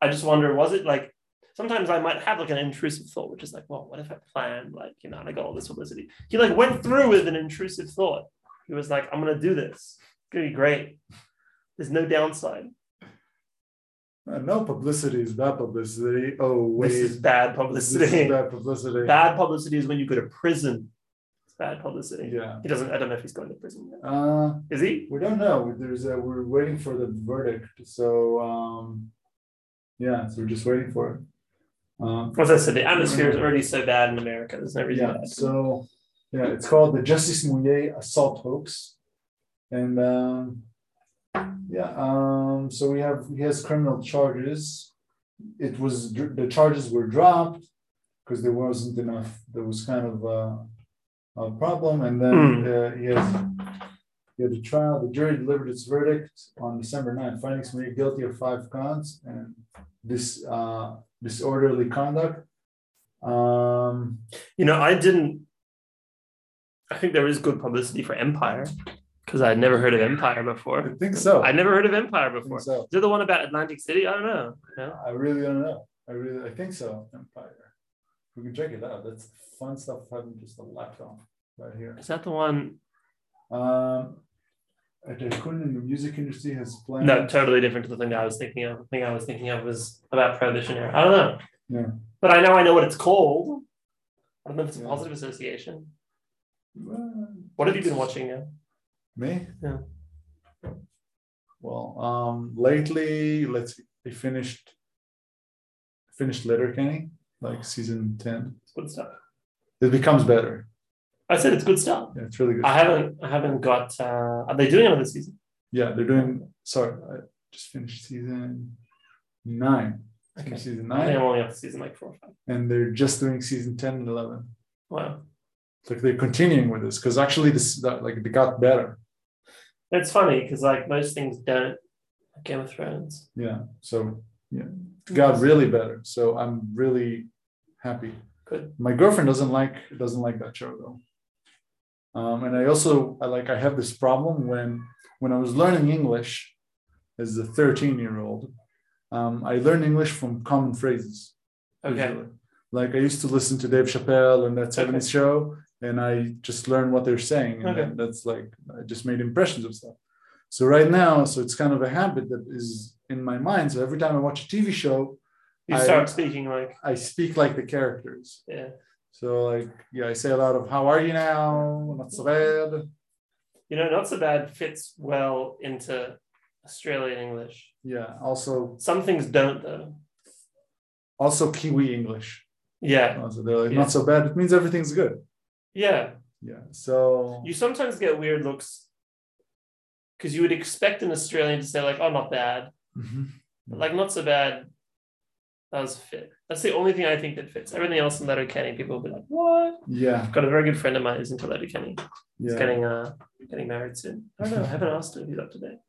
S2: I just wonder, was it like sometimes I might have like an intrusive thought, which is like, well, what if I planned, like, you know, and I got all this publicity? He like went through with an intrusive thought. He was like, I'm gonna do this. It's gonna be great. There's no downside.
S1: Uh, No publicity is bad publicity. Oh wait,
S2: This is bad
S1: This
S2: publicity.
S1: is bad publicity.
S2: Bad publicity is when you go to prison. It's bad publicity.
S1: Yeah.
S2: He doesn't. I don't know if he's going to prison yet.
S1: Uh,
S2: Is he?
S1: we don't know. There's a, we're waiting for the verdict. So um, yeah, so we're just waiting for it. Um,
S2: As I said, the atmosphere is already so bad in America. There's no reason.
S1: yeah,
S2: to-
S1: so yeah, it's called the Justice Mouillet Assault Hoax, and um, yeah, um, so we have he has criminal charges. It was dr- the charges were dropped because there wasn't enough. There was kind of a, a problem, and then
S2: Hmm.
S1: uh, he has. He had a trial. The jury delivered its verdict on December 9th, finding Smuyer guilty of five counts and this uh, disorderly conduct. Um,
S2: You know, I didn't. I think there is good publicity for Empire because I'd never heard of Empire
S1: I
S2: before.
S1: think so.
S2: I
S1: I
S2: never heard of Empire before.
S1: think
S2: Is
S1: so.
S2: it the one about Atlantic City? I don't know. No?
S1: I really don't know. I really, I think so. Empire. We can check it out. That's fun stuff. Having just a laptop right here.
S2: Is that the one?
S1: Um, uh, the Kunin, the music industry has planned.
S2: No, totally different to the thing that I was thinking of. The thing I was thinking of was about Prohibition era. I don't know.
S1: Yeah.
S2: But I know I know what it's called. I don't know if it's a
S1: Yeah.
S2: positive association.
S1: Well,
S2: What have you been watching now?
S1: Me?
S2: Yeah.
S1: Well, um, lately, let's see, I finished finished Letterkenny, like season ten.
S2: It's good stuff.
S1: It becomes better.
S2: I said it's good stuff.
S1: Yeah, it's really good.
S2: I haven't I haven't got uh are they doing another season?
S1: yeah, they're doing. Sorry, I just finished season nine. Finished Season
S2: I think
S1: nine,
S2: I'm only up to season like four or five.
S1: and they're just doing season ten and eleven.
S2: Wow.
S1: Like they're continuing with this because actually this that, like it got better.
S2: It's funny because like most things don't like Game of Thrones.
S1: Yeah. So yeah,
S2: Mm-hmm.
S1: it got really better. So I'm really happy.
S2: Good.
S1: My girlfriend doesn't like doesn't like that show though. Um, and I also I like I have this problem when when I was learning English as a 13 year old, um, I learned English from common phrases.
S2: Okay.
S1: usually. Like I used to listen to Dave Chappelle and that
S2: Okay.
S1: 70s show, and I just learned what they're saying. And
S2: Okay.
S1: then that's like, I just made impressions of stuff. So right now, so it's kind of a habit that is in my mind. So every time I watch a TV show,
S2: You
S1: I-
S2: start speaking like
S1: I speak like the characters.
S2: yeah.
S1: So like, yeah, I say a lot of "How are you now?" Not so bad.
S2: You know, not so bad fits well into Australian English.
S1: Yeah. Also,
S2: Some things don't though.
S1: also Kiwi English.
S2: Yeah.
S1: Also, they're like
S2: Yeah.
S1: not so bad. It means everything's good.
S2: Yeah.
S1: Yeah. So
S2: You sometimes get weird looks because you would expect an Australian to say, like, oh, not bad.
S1: Mhm.
S2: But, like, not so bad. That was fit. That's the only thing I think that fits. Everything else in Letterkenny, people will be like, what?
S1: yeah,
S2: I've got a very good friend of mine who's into Letterkenny. He's
S1: yeah.
S2: getting uh getting married soon. I don't know. I haven't asked him if he's up to date.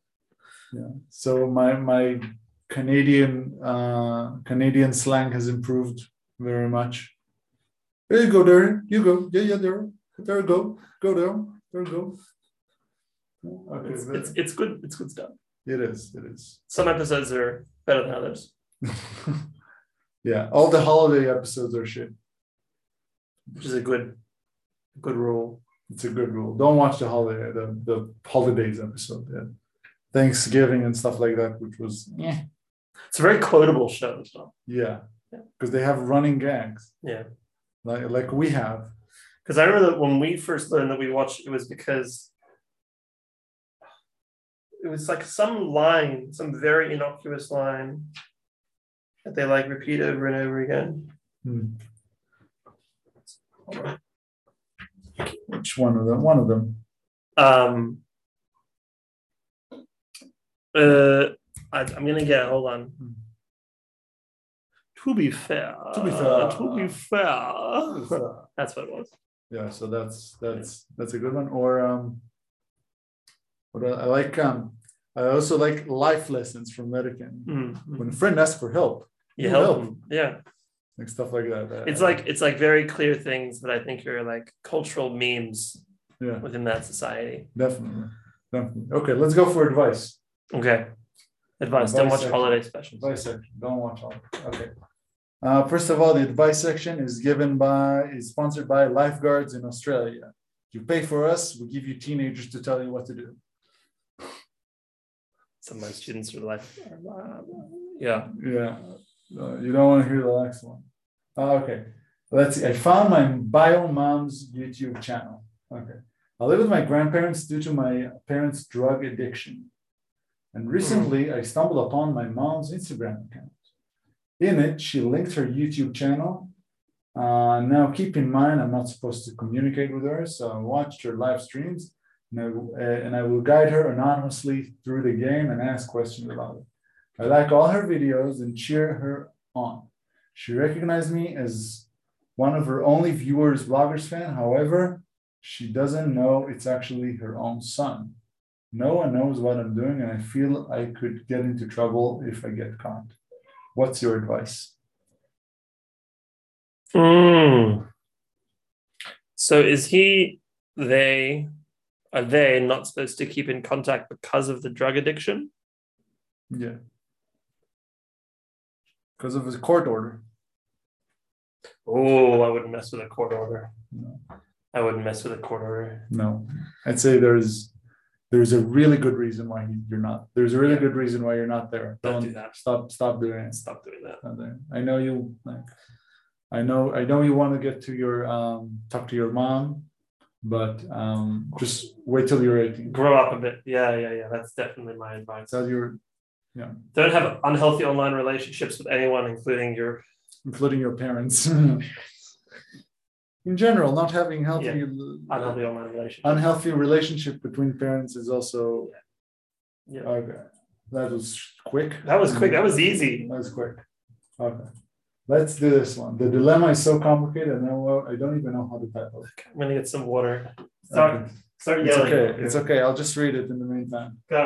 S1: So my my Canadian uh, Canadian slang has improved very much. There you go, there you go, yeah, yeah, there, there you go, go there, there you go. Okay,
S2: It's,
S1: there.
S2: it's, it's good. It's good stuff.
S1: It is, it is.
S2: Some episodes are better than others.
S1: yeah, all the holiday episodes are shit.
S2: which is a good good rule.
S1: It's a good rule. Don't watch the holiday the, the holidays episode. Yeah. Thanksgiving and stuff like that, which was yeah,
S2: It's a very quotable show as well.
S1: yeah,
S2: Yeah.
S1: because they have running gags
S2: Yeah.
S1: like like we have.
S2: Because I remember that when we first learned that we watched it was because it was like some line, some very innocuous line that they like repeat over and over again.
S1: Hmm. Which one of them? One of them.
S2: Um uh I, I'm gonna get hold on. To be fair.
S1: Hmm. To be fair.
S2: To be fair. That's what it was.
S1: yeah, so that's that's that's a good one. Or um, what I I like um, I also like life lessons from Letterkenny.
S2: Mm.
S1: When a friend asks for help,
S2: You
S1: Mm-hmm. You
S2: help
S1: help.
S2: them. Yeah.
S1: like stuff like that. uh,
S2: it's like it's like very clear things that I think are like cultural memes
S1: yeah,
S2: within that society.
S1: definitely, definitely. Okay, let's go for advice.
S2: Okay. Advice. Don't
S1: Advice
S2: watch
S1: section.
S2: holiday specials.
S1: Advice section. Don't watch all. Okay. Uh, first of all, the advice section is given by is sponsored by lifeguards in Australia. You pay for us, we give you teenagers to tell you what to do.
S2: Some of my students are like, yeah.
S1: Yeah, uh, you don't want to hear the next one. Uh, okay, let's see. I found my bio mom's YouTube channel. Okay, I live with my grandparents due to my parents' drug addiction, and recently I stumbled upon my mom's Instagram account. In it, she linked her YouTube channel. Uh, now, keep in mind, I'm not supposed to communicate with her, so I watched her live streams, and I, will- uh, and I will guide her anonymously through the game and ask questions about it. I like all her videos and cheer her on. She recognized me as one of her only viewers, bloggers fan. However, she doesn't know it's actually her own son. No one knows what I'm doing, and I feel I could get into trouble if I get caught. What's your advice?
S2: Hmm. Mm. So is he they are they not supposed to keep in contact because of the drug addiction?
S1: Yeah. Because of his court order.
S2: Oh, I wouldn't mess with a court order.
S1: No.
S2: I wouldn't mess with a court order.
S1: No, I'd say there's there's a really good reason why you're not. There's a really
S2: Yeah.
S1: good reason why you're not there.
S2: Don't do that.
S1: Stop. Stop doing it.
S2: Stop doing that.
S1: Not there. I know you like. I know. I know you want to get to your um talk to your mom, but um just wait till you're 18.
S2: Grow up a bit. Yeah, yeah, yeah. That's definitely my advice.
S1: Tell your
S2: Don't have unhealthy online relationships with anyone, including your.
S1: including your parents. In general, not having healthy Uh,
S2: Unhealthy online relationships.
S1: unhealthy relationship between parents is also
S2: Yeah.
S1: okay. That was quick. Mm-hmm.
S2: That was quick. That was easy.
S1: That was quick. Okay. Let's do this one. The dilemma is so complicated, and I wo- I don't even know how to type it.
S2: I'm gonna get some water. Start,
S1: Okay.
S2: start
S1: It's
S2: yelling.
S1: okay. It's okay. I'll just read it in the meantime.
S2: Go.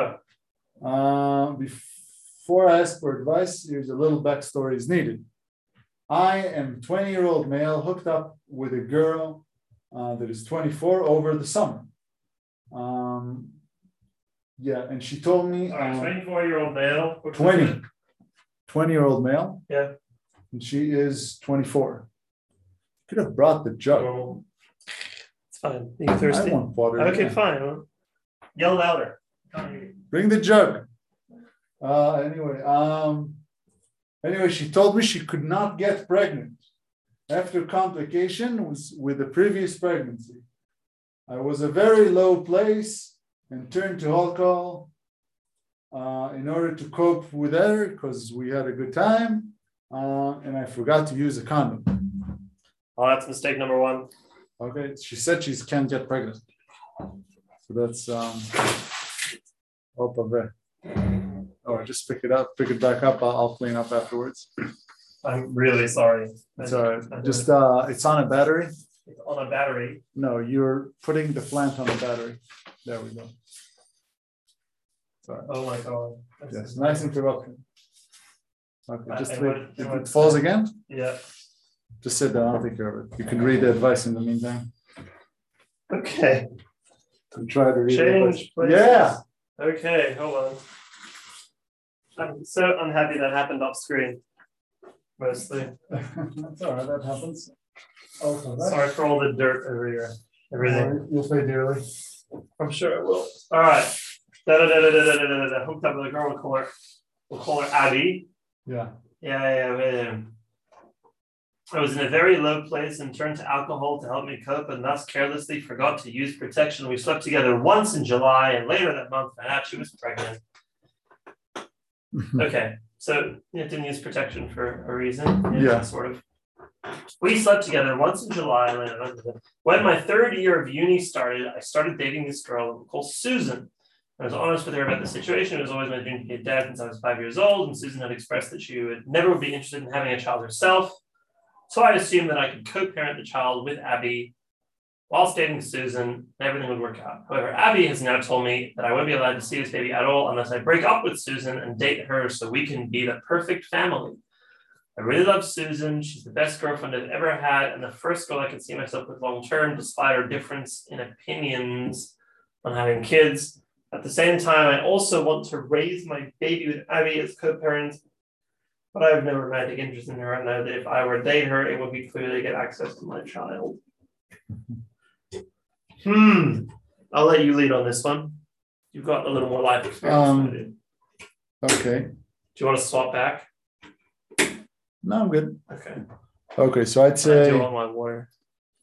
S1: Uh, before I ask for advice, here's a little backstory is needed. I am 20 year old male hooked up with a girl uh, that is 24 over the summer. Um, yeah, and she told me um,
S2: 24 year old male.
S1: 20, 20 year old male.
S2: Yeah.
S1: And she is 24. Could have brought the jug.
S2: Normal. It's fine. Are you
S1: I
S2: thirsty?
S1: want water.
S2: Okay,
S1: Yeah.
S2: fine. Yell louder.
S1: Bring the jug. Uh, anyway, um, anyway, she told me she could not get pregnant after complication was with the previous pregnancy. I was a very low place and turned to alcohol uh, in order to cope with her because we had a good time uh, and I forgot to use a condom.
S2: Oh, that's mistake number one.
S1: Okay, she said she can't get pregnant. So that's um up there. Or just pick it up, pick it back up. I'll, I'll clean up afterwards.
S2: I'm really sorry.
S1: It's all right. Just uh, it's on a battery.
S2: on a battery.
S1: No, you're putting the plant on a battery. There we go. Sorry.
S2: Oh my god. That's-
S1: Yes, nice interruption. Okay,
S2: I-
S1: just
S2: I
S1: leave.
S2: would- I
S1: If
S2: would-
S1: it falls again,
S2: Yeah.
S1: just sit down. I'll take care of it. You can read the advice in the meantime.
S2: Okay.
S1: And try to read. the
S2: Change.
S1: advice.
S2: places.
S1: Yeah.
S2: Okay. Hold on. I'm so unhappy that happened off screen. Mostly.
S1: That's all right. That happens. Oh,
S2: Sorry for all the dirt over here. Everything.
S1: You'll pay dearly.
S2: I'm sure it will. All right. Da da da da da da da da. da. Hooked up with a girl. We'll call her. We'll call her Abby.
S1: Yeah.
S2: Yeah, yeah, yeah, yeah. I was in a very low place and turned to alcohol to help me cope, and thus carelessly forgot to use protection. We slept together once in July, and later that month, I out she was pregnant.
S1: Hmm.
S2: Okay, so yeah, didn't use protection for a reason.
S1: Yeah.
S2: sort of. We slept together once in July, and later that month. when my third year of uni started, I started dating this girl called Susan. I was honest with her about the situation. It was always my dream to be a dad since I was five years old, and Susan had expressed that she would never would be interested in having a child herself. So I assumed that I could co-parent the child with Abby whilst dating Susan, and everything would work out. However, Abby has now told me that I won't be allowed to see this baby at all unless I break up with Susan and date her so we can be the perfect family. I really love Susan. She's the best girlfriend I've ever had and the first girl I can see myself with long term, despite our difference in opinions on having kids. At the same time, I also want to raise my baby with Abby as co parent, but I have no romantic interest in her. And I know that if I were to date her, it would be clear to get access to my child. Hmm. I'll let you lead on this one. You've got a little more life experience.
S1: Um,
S2: than I do.
S1: Okay.
S2: do you want to swap back?
S1: No, I'm good.
S2: Okay.
S1: Okay, so I'd
S2: I
S1: say
S2: do want my water.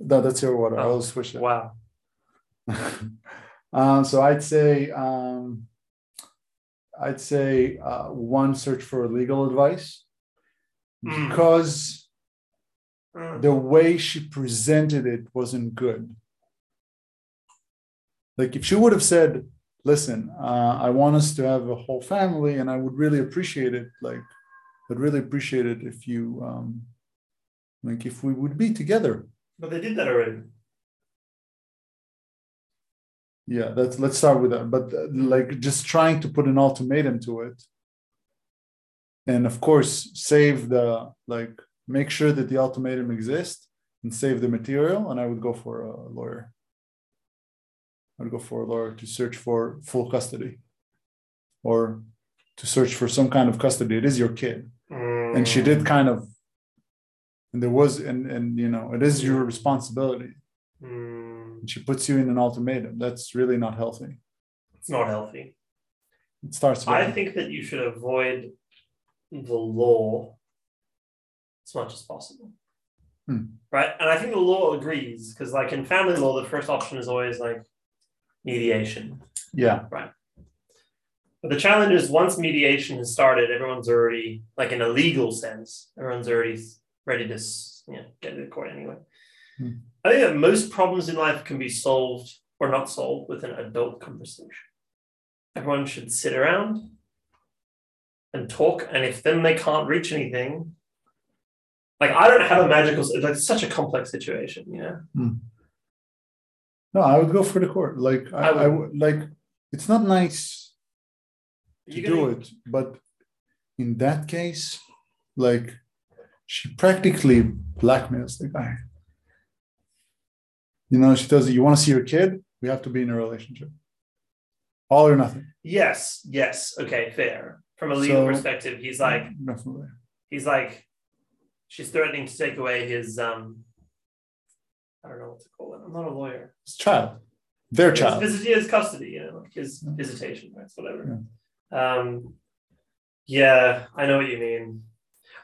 S1: no, that's your water.
S2: Oh.
S1: I'll switch it.
S2: Wow.
S1: um, so I'd say um, I'd say uh, one search for legal advice
S2: Mm.
S1: because
S2: Mm.
S1: the way she presented it wasn't good. Like if she would have said, "Listen, uh, I want us to have a whole family, and I would really appreciate it. Like, I'd really appreciate it if you, um, like, if we would be together."
S2: But they did that already.
S1: Yeah, that's let's start with that. But uh, like, just trying to put an ultimatum to it, and of course, save the like, make sure that the ultimatum exists, and save the material. And I would go for a lawyer. I would go for a lawyer to search for full custody or to search for some kind of custody. It is your kid. And she did kind of, and there was, and, and you know, it is your responsibility.
S2: Mm,
S1: And she puts you in an ultimatum. That's really not healthy.
S2: it's not healthy.
S1: It starts with,
S2: I think that you should avoid the law as much as possible.
S1: Hmm.
S2: Right? And I think the law agrees because, like, in family law, the first option is always like mediation.
S1: yeah,
S2: But the challenge is once mediation has started, everyone's already, like in a legal sense, everyone's already ready to s- you know, get to court anyway.
S1: Hmm.
S2: I think that most problems in life can be solved or not solved with an adult conversation. Everyone should sit around and talk. And if then they can't reach anything, like I don't have a magical, like it's such a complex situation, you know?
S1: no, I would go for the court. Like, I, I
S2: I would.
S1: would, like, it's not nice to
S2: You
S1: do
S2: can-
S1: it. But in that case, like she practically blackmails the guy. You know, she does. You want to see your kid? We have to be in a relationship. All or nothing.
S2: Yes, yes. Okay, fair. From a legal
S1: So-
S2: perspective, he's like,
S1: definitely.
S2: he's like she's threatening to take away his um I don't know what to call it. I'm not a lawyer.
S1: It's child, their child.
S2: His, visit- his custody, you know, like his
S1: Yeah.
S2: visitation rights, whatever. Um yeah, I know what you mean.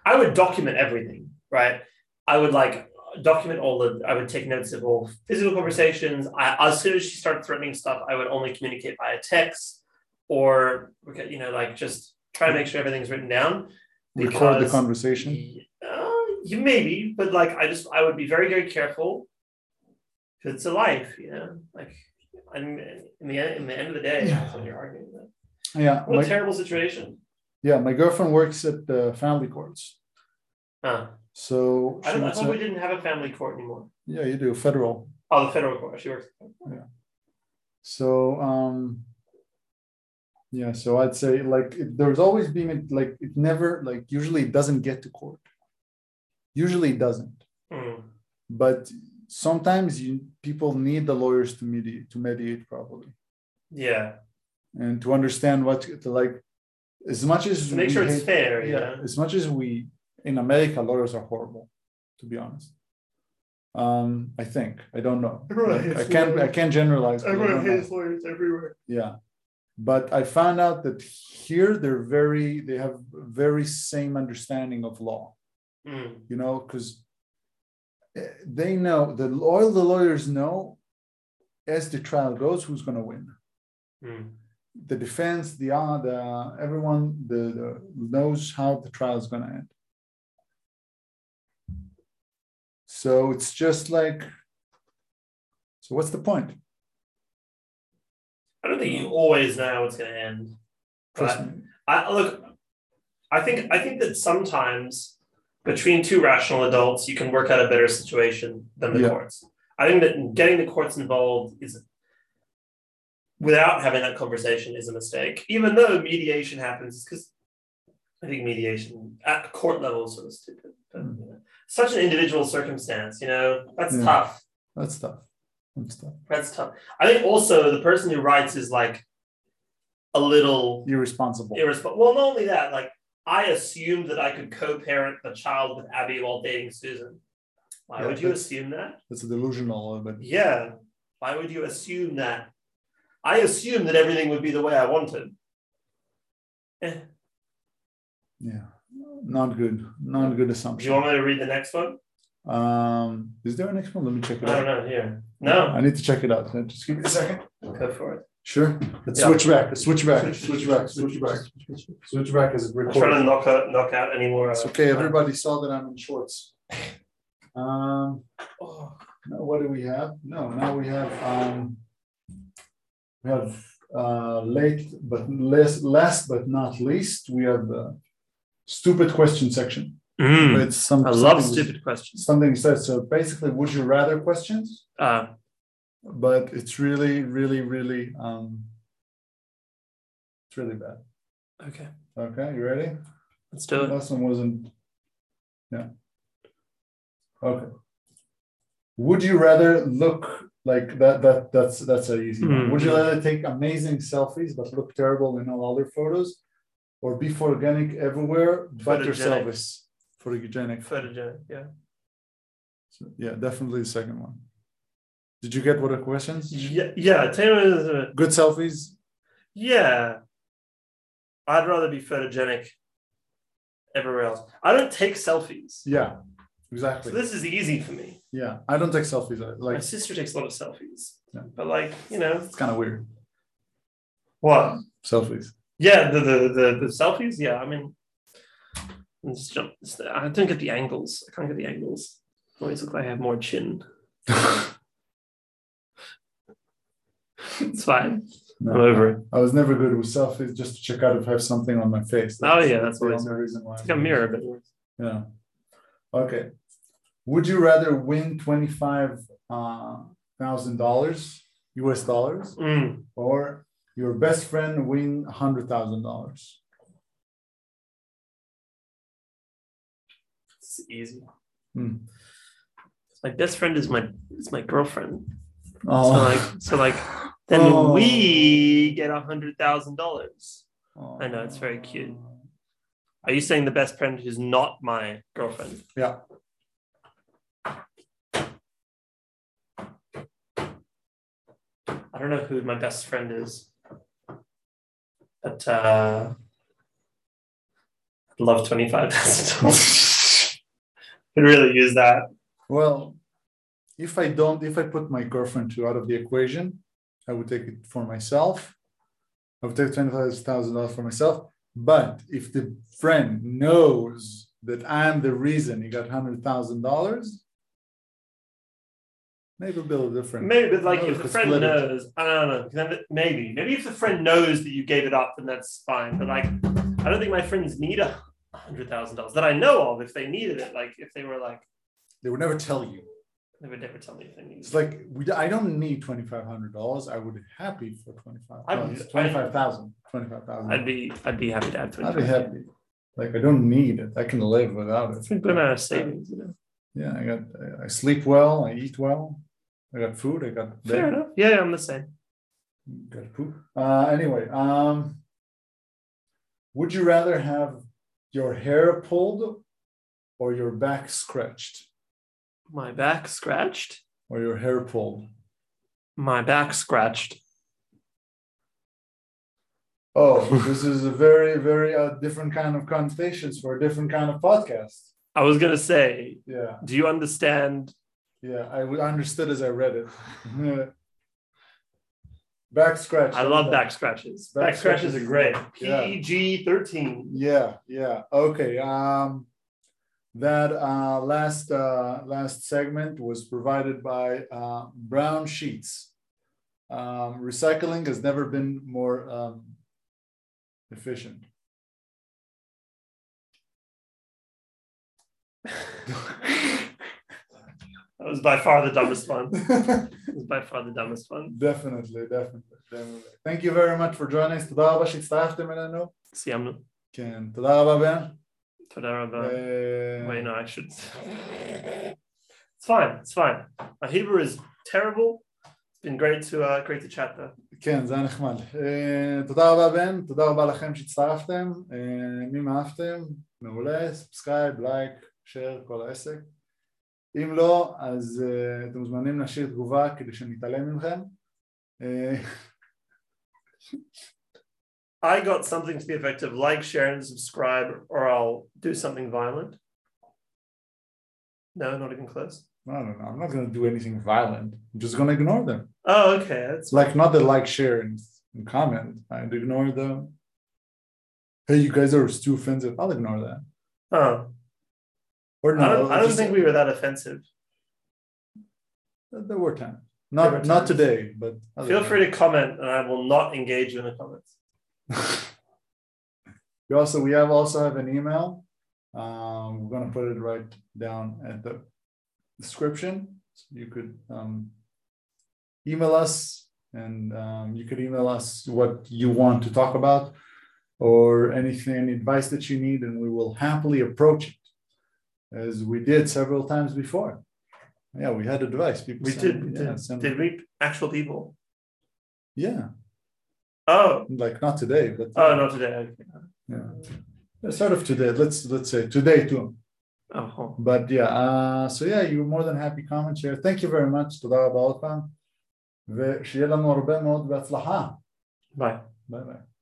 S2: I would document everything, right? I would like document all the I would take notes of all physical conversations. I as soon as she started threatening stuff, I would only communicate via text or okay, you know, like just try to make sure everything's written down.
S1: Record the
S2: because-
S1: conversation.
S2: uh, you maybe, but like I just I would be very very careful. 'Cause It's a life, you know. Like, I'm in the end, in the end of the day, that's what you're arguing. About.
S1: Yeah,
S2: What a
S1: my,
S2: terrible situation.
S1: yeah. My girlfriend works at the family courts,
S2: Huh.
S1: so she
S2: I, don't, I
S1: would
S2: thought we
S1: say,
S2: didn't have a family court anymore.
S1: yeah, you do federal.
S2: Oh, the federal court. She works.
S1: So um yeah, so I'd say like it, there's always been like it never like usually it doesn't get to court. Usually it doesn't,
S2: Hmm.
S1: but sometimes you people need the lawyers to mediate to mediate properly
S2: Yeah,
S1: and to understand what to like as much as
S2: to make
S1: we
S2: sure it's
S1: hate-
S2: fair. you
S1: yeah,
S2: know?
S1: as much as we in America lawyers are horrible, to be honest. Um, I think I don't know.
S2: Everyone
S1: Like, I
S2: hates
S1: can't I
S2: lawyers.
S1: can't generalize. but I don't know.
S2: lawyers everywhere.
S1: Yeah. But I found out that here they're very, they have very same understanding of law,
S2: Mm.
S1: you know, because they know the all the lawyers know as the trial goes who's going to win.
S2: Mm.
S1: The defense, the uh, the everyone the, the knows how the trial is going to end. So it's just like, so what's the point?
S2: I don't think you always know how it's going to end.
S1: Trust
S2: but-
S1: me.
S2: I look. I think I think that sometimes between two rational adults, you can work out a better situation than the
S1: Yeah.
S2: courts. I think that getting the courts involved is without having that conversation is a mistake. Even though mediation happens, because I think mediation at court level is sort of stupid. But, you know, such an individual circumstance, you know, that's
S1: Hmm. Yeah.
S2: tough.
S1: That's tough. That's tough.
S2: That's tough. I think also the person who writes is like a little
S1: Irresponsible.
S2: irresponsible. Well, not only that, like I assumed that I could co-parent the child with Abby while dating Susan. Why
S1: Yeah,
S2: would you
S1: that's-
S2: assume that?
S1: That's delusional, uh, but
S2: Yeah. Why would you assume that? I assumed that everything would be the way I wanted. Eh,
S1: yeah, not good. Not good
S2: do you
S1: assumption.
S2: want me to read the next one?
S1: Um, is there an next one? Let me check
S2: I
S1: it
S2: don't
S1: out.
S2: know. Here. No.
S1: I need to check it out. Just give me a second.
S2: Go for it.
S1: Sure. Let's
S2: Yeah.
S1: switch back. Let's switch back. Switch back. Switch back. Switch back as it
S2: I'm trying to
S1: records.
S2: knock out, knock out any more.
S1: It's
S2: uh,
S1: okay. Everybody saw that I'm in shorts. Um. Oh, now what do we have? No. Now we have um. We have uh late but less last but not least we have the stupid question section.
S2: Mm,
S1: It's some,
S2: I love
S1: something-
S2: stupid questions.
S1: Something said. So basically, would you rather questions?
S2: Uh,
S1: But it's really, really, really, um, it's really bad.
S2: okay,
S1: Okay, you ready?
S2: let's do it.
S1: Last one wasn't. Yeah. Okay. Would you rather look Like that that that's that's an easy one.
S2: Mm.
S1: Would you rather take amazing selfies but look terrible in all other photos, or be photogenic everywhere but your
S2: Photogenic.
S1: selfies? Photogenic.
S2: Photogenic, yeah.
S1: So, yeah, definitely the second one. Did you get what the questions?
S2: Yeah, yeah. Taylor is a,
S1: Good selfies.
S2: yeah. I'd rather be photogenic everywhere else. I don't take selfies.
S1: Yeah,
S2: So
S1: exactly.
S2: this is easy for me.
S1: yeah, I don't take selfies. I-
S2: My
S1: Like
S2: sister takes a lot of selfies.
S1: Yeah.
S2: But like, you know,
S1: it's kind of weird.
S2: what?
S1: Selfies.
S2: Yeah, the the the, the selfies, yeah. I mean it's jump- it's- I don't get the angles. I can't get the angles. I always look like I have more chin. It's fine.
S1: No.
S2: I'm over it.
S1: I was never good with selfies. Just to check out if I have something on my face.
S2: Oh, yeah, that's
S1: the
S2: always
S1: only reason why.
S2: It's like a mirror, but
S1: Yeah. Okay. Would you rather win twenty five thousand dollars U.S. dollars
S2: Mm.
S1: or your best friend win hundred thousand dollars?
S2: It's easy.
S1: Hmm.
S2: My best friend is my is my girlfriend.
S1: Oh,
S2: So like so like then
S1: Oh.
S2: we get a hundred thousand dollars.
S1: Oh.
S2: I know, it's very cute. Are you saying the best friend who's not my girlfriend?
S1: Yeah.
S2: I don't know who my best friend is, but uh, I'd love twenty five thousand dollars. Could really use that.
S1: Well, if I don't, if I put my girlfriend too out of the equation, I would take it for myself. I would take $25,000 for myself. But if the friend knows that I'm the reason he got $100,000, maybe a little different.
S2: Maybe, but like
S1: No,
S2: if the
S1: it's
S2: friend
S1: split it.
S2: knows, I don't know. Then it- maybe, maybe if the friend knows that you gave it up, then that's fine. But like, I don't think my friends need a hundred thousand dollars that I know of. If they needed it, like if they were like,
S1: They would never tell you.
S2: they would never tell me if they needed.
S1: It's
S2: it.
S1: like we, I don't need $2,500. I would be happy for 25
S2: I would-
S1: dollars 25000 $25,000.
S2: I'd be, I'd be happy to have
S1: um, I'd
S2: twenty.
S1: be happy. Like I don't need it. I can live without it.
S2: It's a good amount of savings, you know.
S1: Yeah, I got. I- I sleep well. I eat well. I got food. I got
S2: Fair
S1: bed,
S2: enough. Yeah, I'm the same.
S1: got poop. Uh, anyway, um, would you rather have your hair pulled, or your back scratched,
S2: My back scratched.
S1: or your hair pulled?
S2: My back scratched.
S1: Oh, this is a very, very uh, different kind of conversations for a different kind of podcast.
S2: I was gonna say,
S1: Yeah,
S2: do you understand?
S1: yeah. I w- understood as I read it. back scratched.
S2: I love back scratches.
S1: Back
S2: Back, scratches
S1: scratches.
S2: are great.
S1: Yeah.
S2: PG thirteen.
S1: Yeah, yeah. Okay. Um, that uh, last uh, last segment was provided by uh, Brown Sheets. Um, recycling has never been more um, efficient.
S2: That was by far the dumbest one.
S1: definitely,
S2: It was by far the dumbest one.
S1: definitely, definitely. Thank you very much for joining us. תודה רבה שהצטרפתם אלינו.
S2: סיימנו.
S1: כן, תודה רבה בן.
S2: תודה רבה.
S1: אה,
S2: Wait, no, I should. It's fine. It's fine. My Hebrew is terrible. It's been great to uh, great to chat though.
S1: כן, זה היה נחמד. אה, תודה רבה בן, תודה רבה לכם שהצטרפתם. אה, אם אהבתם, מעולה, סאבסקרייב, לייק, שייר, כל העסק. אם לא, אז אה, אתם מוזמנים להשאיר תגובה כדי שנתעלם מכם. אה,
S2: I got something to the effect of like, share, and subscribe, or I'll do something violent. No, not even close.
S1: I don't know, לא, I'm not going to do anything violent. I'm just going to ignore them.
S2: Oh, okay. That's
S1: It's like not the like, share, and, and comment. I'd ignore the, hey, you guys are too offensive. I'll ignore that.
S2: oh.
S1: Or
S2: I don't,
S1: I'll
S2: I don't
S1: just-
S2: think we were that offensive.
S1: There were times.
S2: There were
S1: Not, not
S2: times.
S1: today, but
S2: Feel free to comment, and I will not engage you in the comments.
S1: We also we have also have an email. Um, we're gonna put it right down at the description. So you could um, email us, and um, you could email us what you want to talk about, or anything, any advice that you need, and we will happily approach it, as we did several times before. Yeah, we had advice. People
S2: We
S1: send-
S2: did. We
S1: yeah,
S2: did.
S1: send-
S2: Did we actual people?
S1: yeah,
S2: Oh,
S1: like not today, but
S2: oh, not today.
S1: yeah, sort of today. Let's let's say today too.
S2: Oh,
S1: But yeah, uh, so yeah, you're more than happy comment share. Thank you very much. תודה רבה עוד פעם, ושיהיה לנו הרבה מאוד בהצלחה.
S2: bye.
S1: ביי ביי.